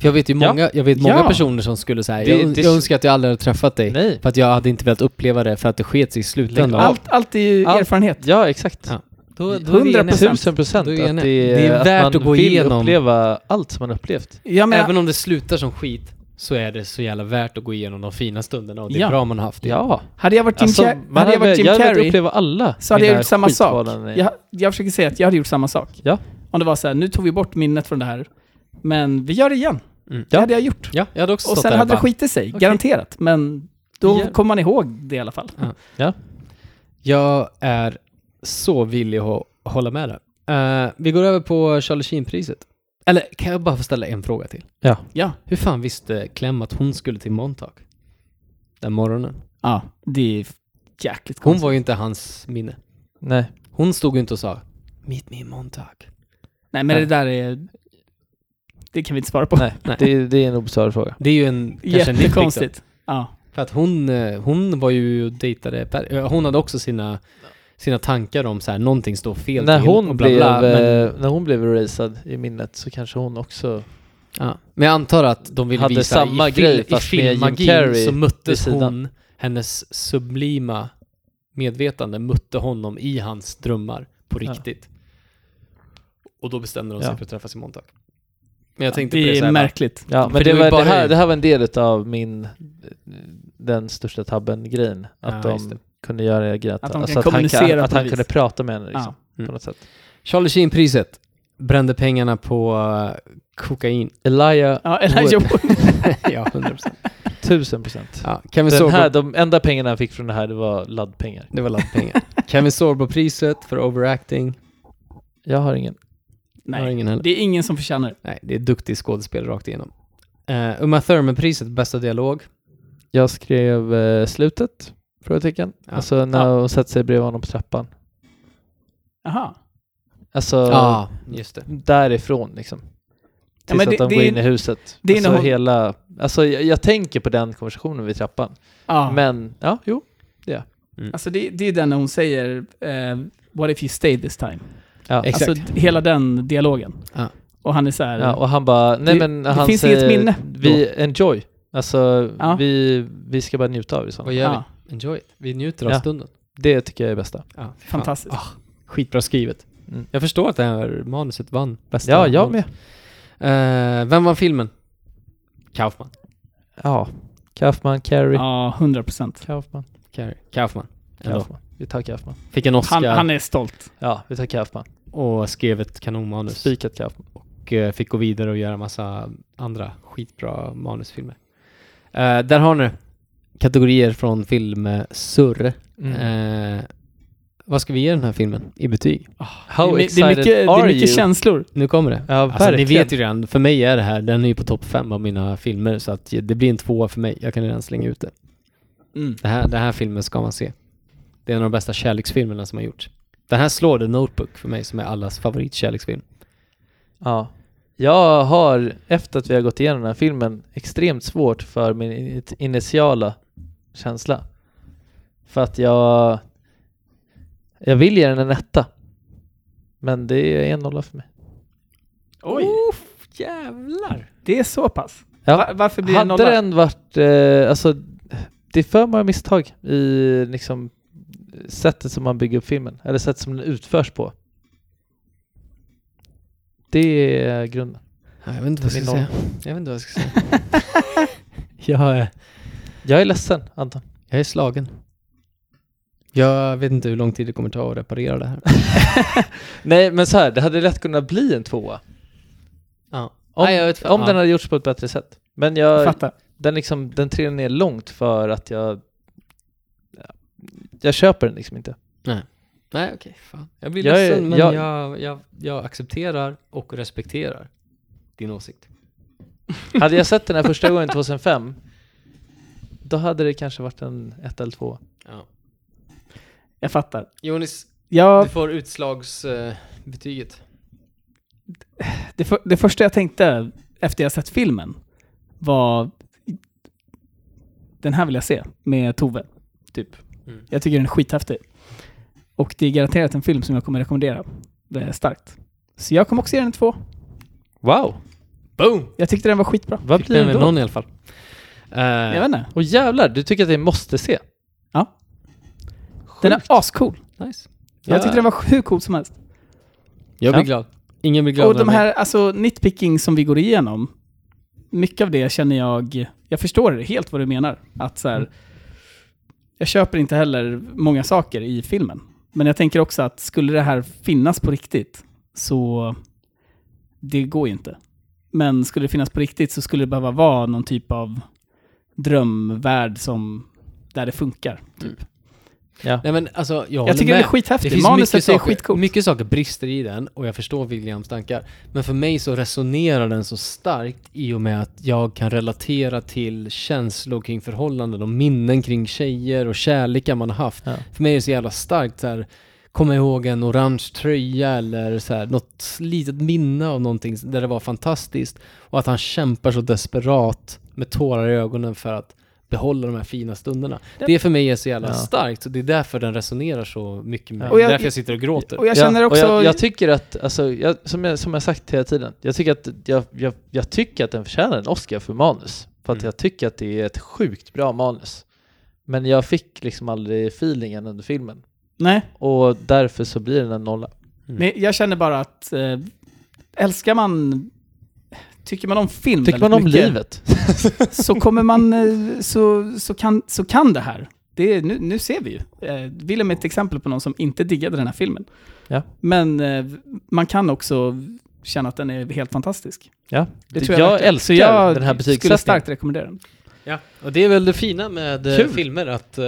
S1: För jag vet ju
S5: Ja.
S1: många, jag vet många
S4: Ja.
S1: personer som skulle säga,
S5: Det-
S1: jag,
S5: det-
S1: jag önskar att jag aldrig hade träffat dig.
S5: Nej.
S1: För att jag hade inte velat uppleva det för att det sket sig i slutändan.
S5: av.
S4: allt, allt är ju
S5: Allt-
S4: erfarenhet.
S5: Ja, exakt.
S1: Ja. Då,
S4: då är vi eniga.
S5: Tusen procent.
S1: Då är
S5: Att
S1: vi
S5: det, är,
S1: eniga. Det är värt
S5: att, man
S1: att gå
S5: vill
S1: igenom.
S5: uppleva allt som man upplevt.
S4: Ja, men,
S1: Även om det slutar som skit så är det så jävla värt att gå igenom de fina stunderna och det är
S4: Ja.
S1: bra man har haft det.
S5: Ja.
S4: hade jag varit Jim,
S5: Alltså,
S4: Car-
S5: man
S4: hade jag varit Jim
S5: jag hade velat
S4: Carrey
S5: uppleva alla
S4: så hade jag
S5: mina
S4: gjort samma sak.
S5: skitförhållanden.
S4: Jag, jag försöker säga att jag hade gjort samma sak.
S5: Ja.
S4: Om det var så här, nu tog vi bort minnet från det här, men vi gör det igen.
S1: Mm.
S4: Det hade jag gjort.
S1: Ja, jag hade också
S4: Och
S1: stått
S4: sen
S1: där
S4: hade det
S1: bara,
S4: skitit sig, garanterat. Men då
S5: Ja.
S4: kommer man ihåg det i alla fall.
S1: Ja. Jag är så villig att hå- hålla med där. Eh, vi går över på Charlie Sheen-priset. Eller kan jag bara få ställa en fråga till?
S5: Ja.
S4: Ja.
S1: Hur fan visste Clem att hon skulle till Montauk? Den morgonen.
S4: Ja, det är jäkligt
S1: Hon
S4: konstigt.
S1: var ju inte hans minne.
S5: Nej.
S1: Hon stod ju inte och sa Meet me in Montauk.
S4: Nej, men
S5: Ja.
S4: det där är... Det kan vi inte svara på.
S5: Nej. Det, det är en obesvarad fråga.
S1: Det är ju en kanske en nitpick då.
S4: Jättekonstigt. Ja.
S1: För att hon, eh, hon var ju och dejtade Per. Eh, Hon hade också sina, sina tankar om så här, någonting står fel
S5: När
S1: till
S5: hon,
S1: och bla, bla,
S5: blev,
S1: men,
S5: eh, när hon blev erasad i minnet så kanske hon också...
S1: ja. men jag antar att de ville
S5: hade
S1: visa
S5: samma
S1: i, fil,
S5: grej,
S1: i
S5: fast med Jim
S1: filmmagin
S5: Carrey
S1: så
S5: vid
S1: möttes
S5: sidan.
S1: hon, hennes sublima medvetande mötte honom i hans drömmar på
S5: Ja.
S1: riktigt. Och då bestämde de
S5: Ja.
S1: sig för att träffas i Montauk. Men jag tänkte på
S4: det
S1: det
S4: är
S1: så här, bara,
S4: märkligt.
S5: Ja,
S1: För det
S5: men det,
S1: var ju
S5: var,
S1: bara
S5: det, här,
S1: hur-
S5: det här var en del av min... Den största tabben-grejen. Att
S1: Ja, just det.
S5: de kunde göra det grejen.
S4: Att de kan
S5: att han,
S4: kommunicera
S5: kan- att
S4: på
S5: han
S4: vis.
S5: kunde prata med henne liksom,
S4: Ja.
S1: Mm.
S5: på något sätt.
S1: Charlie Sheen-priset brände pengarna på eh, kokain.
S5: Elia,
S4: Mm. Ja, Elijah Wood.
S1: ja, 100%.
S5: tusen procent.
S1: Ja, Kevin
S5: Den
S1: Sorbo
S5: här, de enda pengarna han fick från det här, det var laddpengar.
S1: Det var laddpengar. Kevin Sorbo-priset för overacting.
S5: Jag har ingen.
S1: Har
S4: Nej,
S1: ingen heller.
S4: det är ingen som förtjänar det.
S1: Nej, det är duktig skådespel rakt igenom. Eh, Uma Thurman-priset, bästa dialog.
S5: Jag skrev eh, slutet, frågetecken.
S1: Ja.
S5: Alltså när hon sätter sig bredvid honom på trappan.
S4: Jaha.
S5: Alltså
S1: Ja, just det.
S5: därifrån liksom. Tills
S4: men
S5: att
S4: det-
S5: de
S4: det
S5: går
S4: är-
S5: in i huset.
S4: det är
S5: alltså
S4: när hon-
S5: hela, alltså jag, jag tänker på den konversationen vid trappan.
S4: Ja.
S5: Men, ja, jo.
S4: Alltså det, det är den när hon säger eh, “What if you stayed this time?”
S5: Ja,
S4: alltså,
S5: exakt.
S4: d- Hela den dialogen.
S1: Ja.
S4: Och han är så här,
S5: Ja, och han bara, nej
S4: Det-
S5: men
S4: det
S5: han
S4: finns
S5: säger,
S4: inget minne
S5: vi enjoy. Alltså
S4: Ja.
S5: vi, vi ska bara njuta av det. Så.
S1: Vad gör
S4: Ja.
S1: vi? Enjoy it. Vi njuter av
S5: Ja.
S1: stunden.
S5: Det tycker jag är bästa.
S1: Ja, fan.
S4: fantastiskt.
S1: Skitbra skrivet.
S5: Mm.
S1: Jag förstår att det här manuset vann bästa.
S5: Ja, jag
S1: manus.
S5: med.
S1: Eh, vem vann filmen? Kaufman.
S5: Ja, Kaufman, Carrie,
S4: Ja, 100 procent.
S5: Kaufman,
S1: Carrie. Kaufman. Ändå.
S5: Kaufman. Vi tar Kaufman.
S1: Fick en Oscar
S4: Han, han är stolt.
S5: Ja, vi tar Kaufman.
S1: och skrev ett kanonmanus.
S5: Spikat Kaufman.
S1: Och eh, fick gå vidare och göra massa andra skitbra manusfilmer. Eh, där har ni kategorier från filmsurr.
S5: Mm.
S1: Eh, vad ska vi ge den här filmen i betyg?
S5: How
S4: Ah, det, är, mi- det är
S5: excited
S4: mycket, det är
S5: are
S4: mycket
S5: you?
S4: känslor.
S1: Nu kommer det.
S5: Ja,
S1: alltså, ni
S5: verkligen.
S1: vet ju redan, för mig är det här, den är ju på topp fem av mina filmer så att det blir en tvåa för mig. Jag kan redan slänga ut det. Det här, den här filmen ska man se. Det är en av de bästa kärleksfilmerna som har gjorts. Den här slår The Notebook för mig som är allas favoritkärleksfilm.
S5: Ja. Jag har, efter att vi har gått igenom den här filmen, extremt svårt för min in- initiala känsla. För att jag... Jag vill ge den en etta. Men det är en nolla för mig.
S4: Oj!
S1: Oof, jävlar!
S4: Det är så pass.
S5: Ja.
S4: Va- varför blir det
S5: Hade
S4: nolla?
S5: den varit, eh, alltså det är för många misstag i liksom sättet som man bygger upp filmen, eller sättet som den utförs på. Det är grunden.
S1: Jag vet inte vad jag ska
S5: Min
S1: säga. Jag vet inte vad jag ska säga. jag, är-
S5: Jag är ledsen Anton.
S1: jag är slagen. Jag vet inte hur lång tid det kommer ta att reparera det här.
S5: Nej men så här, det hade lätt kunnat bli en tvåa.
S1: Ja.
S5: Om,
S1: Nej, jag vet fan.
S5: om
S1: Ja.
S5: den hade gjorts på ett bättre sätt. Men
S4: Jag
S5: jag,
S4: fattar.
S5: den, liksom, den trillar ner långt för att jag ja, jag köper den liksom inte.
S1: Nej, okej. fan. Jag blir
S5: Jag är-
S1: ledsen, men jag...
S5: jag-
S1: Jag, jag, accepterar och respekterar din åsikt.
S5: Hade jag sett den här första gången 2005, då hade det kanske varit en ett eller två.
S1: Ja.
S4: Jag fattar.
S1: Jonis,
S4: Jag
S1: du får utslagsbetyget.
S4: Det, för, det första jag tänkte efter jag sett filmen var den här vill jag se med Tove. Typ.
S1: Mm.
S4: Jag tycker den är skithäftig. Och det är garanterat en film som jag kommer rekommendera. Det är starkt. Så jag kommer också ge den en två.
S5: Wow!
S1: Boom!
S4: Jag tyckte den var skitbra.
S5: Vad
S1: Fick
S5: blir
S1: med
S5: den
S1: mig
S5: då?
S1: någon i alla fall. Eh,
S4: Jag vet inte.
S5: Och jävlar, du tycker att jag måste se?
S4: Ja. Den är ascool.
S1: nice.
S4: Jag tyckte den var hur cool som helst.
S1: Jag blir
S5: Ja.
S1: glad. Ingen blir glad
S4: Och de här alltså, nitpicking som vi går igenom, mycket av det känner jag, jag förstår helt vad du menar. Att så här,
S1: Mm.
S4: Jag köper inte heller många saker i filmen. Men jag tänker också att skulle det här finnas på riktigt så det går ju inte. Men skulle det finnas på riktigt så skulle det behöva vara någon typ av drömvärld som, där det funkar.
S1: Nej men alltså, jag, håller
S4: Jag tycker
S1: med.
S4: den är skithäftig.
S1: Det finns mycket
S4: Manuset är
S1: saker,
S4: skitcoolt.
S1: mycket saker brister i den och jag förstår Williams tankar. Men för mig så resonerar den så starkt i och med att jag kan relatera till känslor kring förhållanden och minnen kring tjejer och kärlekar man har haft.
S5: Ja.
S1: För mig är det så jävla starkt så här komma ihåg en orange tröja eller så här, något litet minne av någonting där det var fantastiskt. Och att han kämpar så desperat med tårar i ögonen för att behålla de här fina stunderna. Det för mig är så jävla
S5: Ja.
S1: starkt och det är därför den resonerar så mycket med mig.
S4: Och jag-
S1: det är därför jag sitter och gråter.
S4: Och jag känner
S5: ja,
S4: också...
S5: Och jag, jag tycker att, alltså, jag, som, jag, som jag sagt hela tiden, jag tycker att, jag, jag, jag tycker att den förtjänar en Oscar för manus. För att
S1: Mm.
S5: jag tycker att det är ett sjukt bra manus. Men jag fick liksom aldrig feelingen under filmen.
S4: nej.
S5: Och därför så blir den en nolla.
S1: Mm,
S4: Men
S5: Mm.
S4: jag känner bara att eh, älskar man, tycker man om film
S5: Tycker man om
S4: väldigt mycket,
S5: livet?
S4: så kommer man, eh, så, så, kan, så kan det här. Det är, nu, nu ser vi ju. Eh, Willem är ett exempel på någon som inte diggade den här filmen.
S5: Ja.
S4: Men eh, man kan också känna att den är helt fantastisk.
S5: Ja.
S4: Det
S5: Det-
S4: tror jag,
S5: jag
S4: verkligen.
S5: älskar
S4: Så jag
S5: den här
S4: skulle
S5: betygssättningen.
S4: starkt rekommendera den.
S1: Ja, och det är väl det fina med eh,
S5: Kul.
S1: filmer att... eh,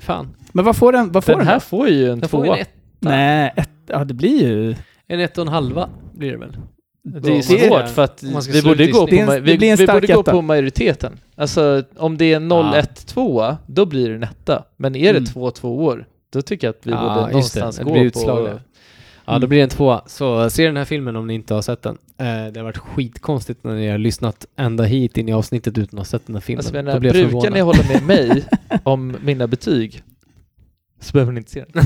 S1: fan.
S4: Men vad får den? Vad får
S5: Den
S4: den
S5: här
S4: här?
S5: får ju en
S1: Den får
S5: tvåa.
S1: en, ett,
S4: Nej, ett, ja det blir ju...
S1: en ett och en halva blir det väl?
S5: Det är ju
S1: Om man
S5: svårt
S1: ska-
S5: för att
S1: om man ska
S5: vi
S1: slå
S5: borde,
S1: ut
S5: gå på,
S4: Disney.
S5: ma-
S4: Det blir
S5: vi,
S4: en
S5: vi
S4: stark
S5: borde gå
S4: etta.
S5: på majoriteten. Alltså om det är 0-1-2, då blir det en etta. Men är det
S4: Mm.
S5: 2-2 år, då tycker jag att vi
S1: Ja,
S5: borde
S1: just det.
S5: någonstans
S1: Det
S5: gå
S1: blir
S5: på...
S1: utslaget. Ja, då
S4: Mm.
S1: blir det en tvåa. Så se den här filmen om ni inte har sett den. Eh, det har varit skitkonstigt när ni har lyssnat ända hit in i avsnittet utan att ha sett den här filmen.
S5: Alltså,
S1: då
S5: menar,
S1: blir jag
S5: brukar ni
S1: förvånad.
S5: hålla med mig om mina betyg, så behöver ni inte se den.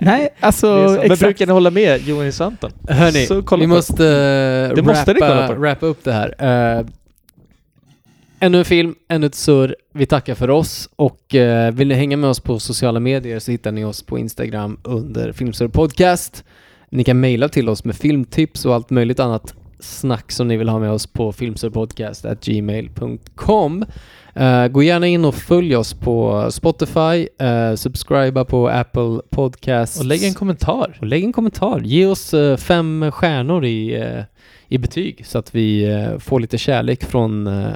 S4: Nej, alltså
S5: Det är så. Men
S4: exakt.
S5: brukar ni hålla med Johan och Anton?
S1: Hörni,
S5: Så kolla
S1: vi
S5: på-
S1: måste, eh,
S5: Det måste ni kolla
S1: wrappa,
S5: på.
S1: wrappa upp det här. Eh, ännu en film, ännu ett surr. Vi tackar för oss och eh, vill ni hänga med oss på sociala medier så hittar ni oss på Instagram under Filmsurr Podcast. Ni kan mejla till oss med filmtips och allt möjligt annat snack som ni vill ha med oss på filmsurpodcast.gmail.com. Eh, gå gärna in och följ oss på Spotify, uh, subscriba på Apple Podcasts.
S5: Och lägg en kommentar.
S1: Och lägg en kommentar. Ge oss eh, fem stjärnor i, eh, i betyg så att vi eh, får lite kärlek från eh,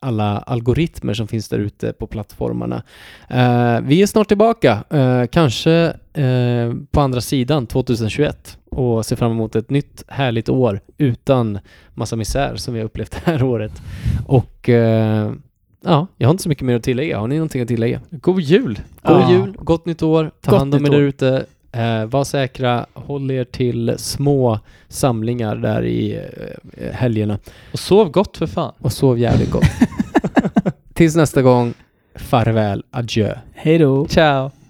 S1: alla algoritmer som finns där ute på plattformarna. Eh, vi är snart tillbaka, eh, kanske eh, på andra sidan 2021 och ser fram emot ett nytt härligt år utan massa misär som vi har upplevt det här året. Och eh, ja, jag har inte så mycket mer att tillägga. Har ni någonting att tillägga?
S5: God jul!
S1: God
S4: Ja.
S1: jul, gott nytt år, ta
S4: Gott
S1: hand om er
S4: nytt
S1: där
S4: år.
S1: ute. Eh, var säkra, håll er till små samlingar där i eh, helgerna.
S5: Och sov gott för fan.
S1: Och sov jävligt gott. Tills nästa gång, farväl, adjö.
S4: Hej då.
S5: Ciao!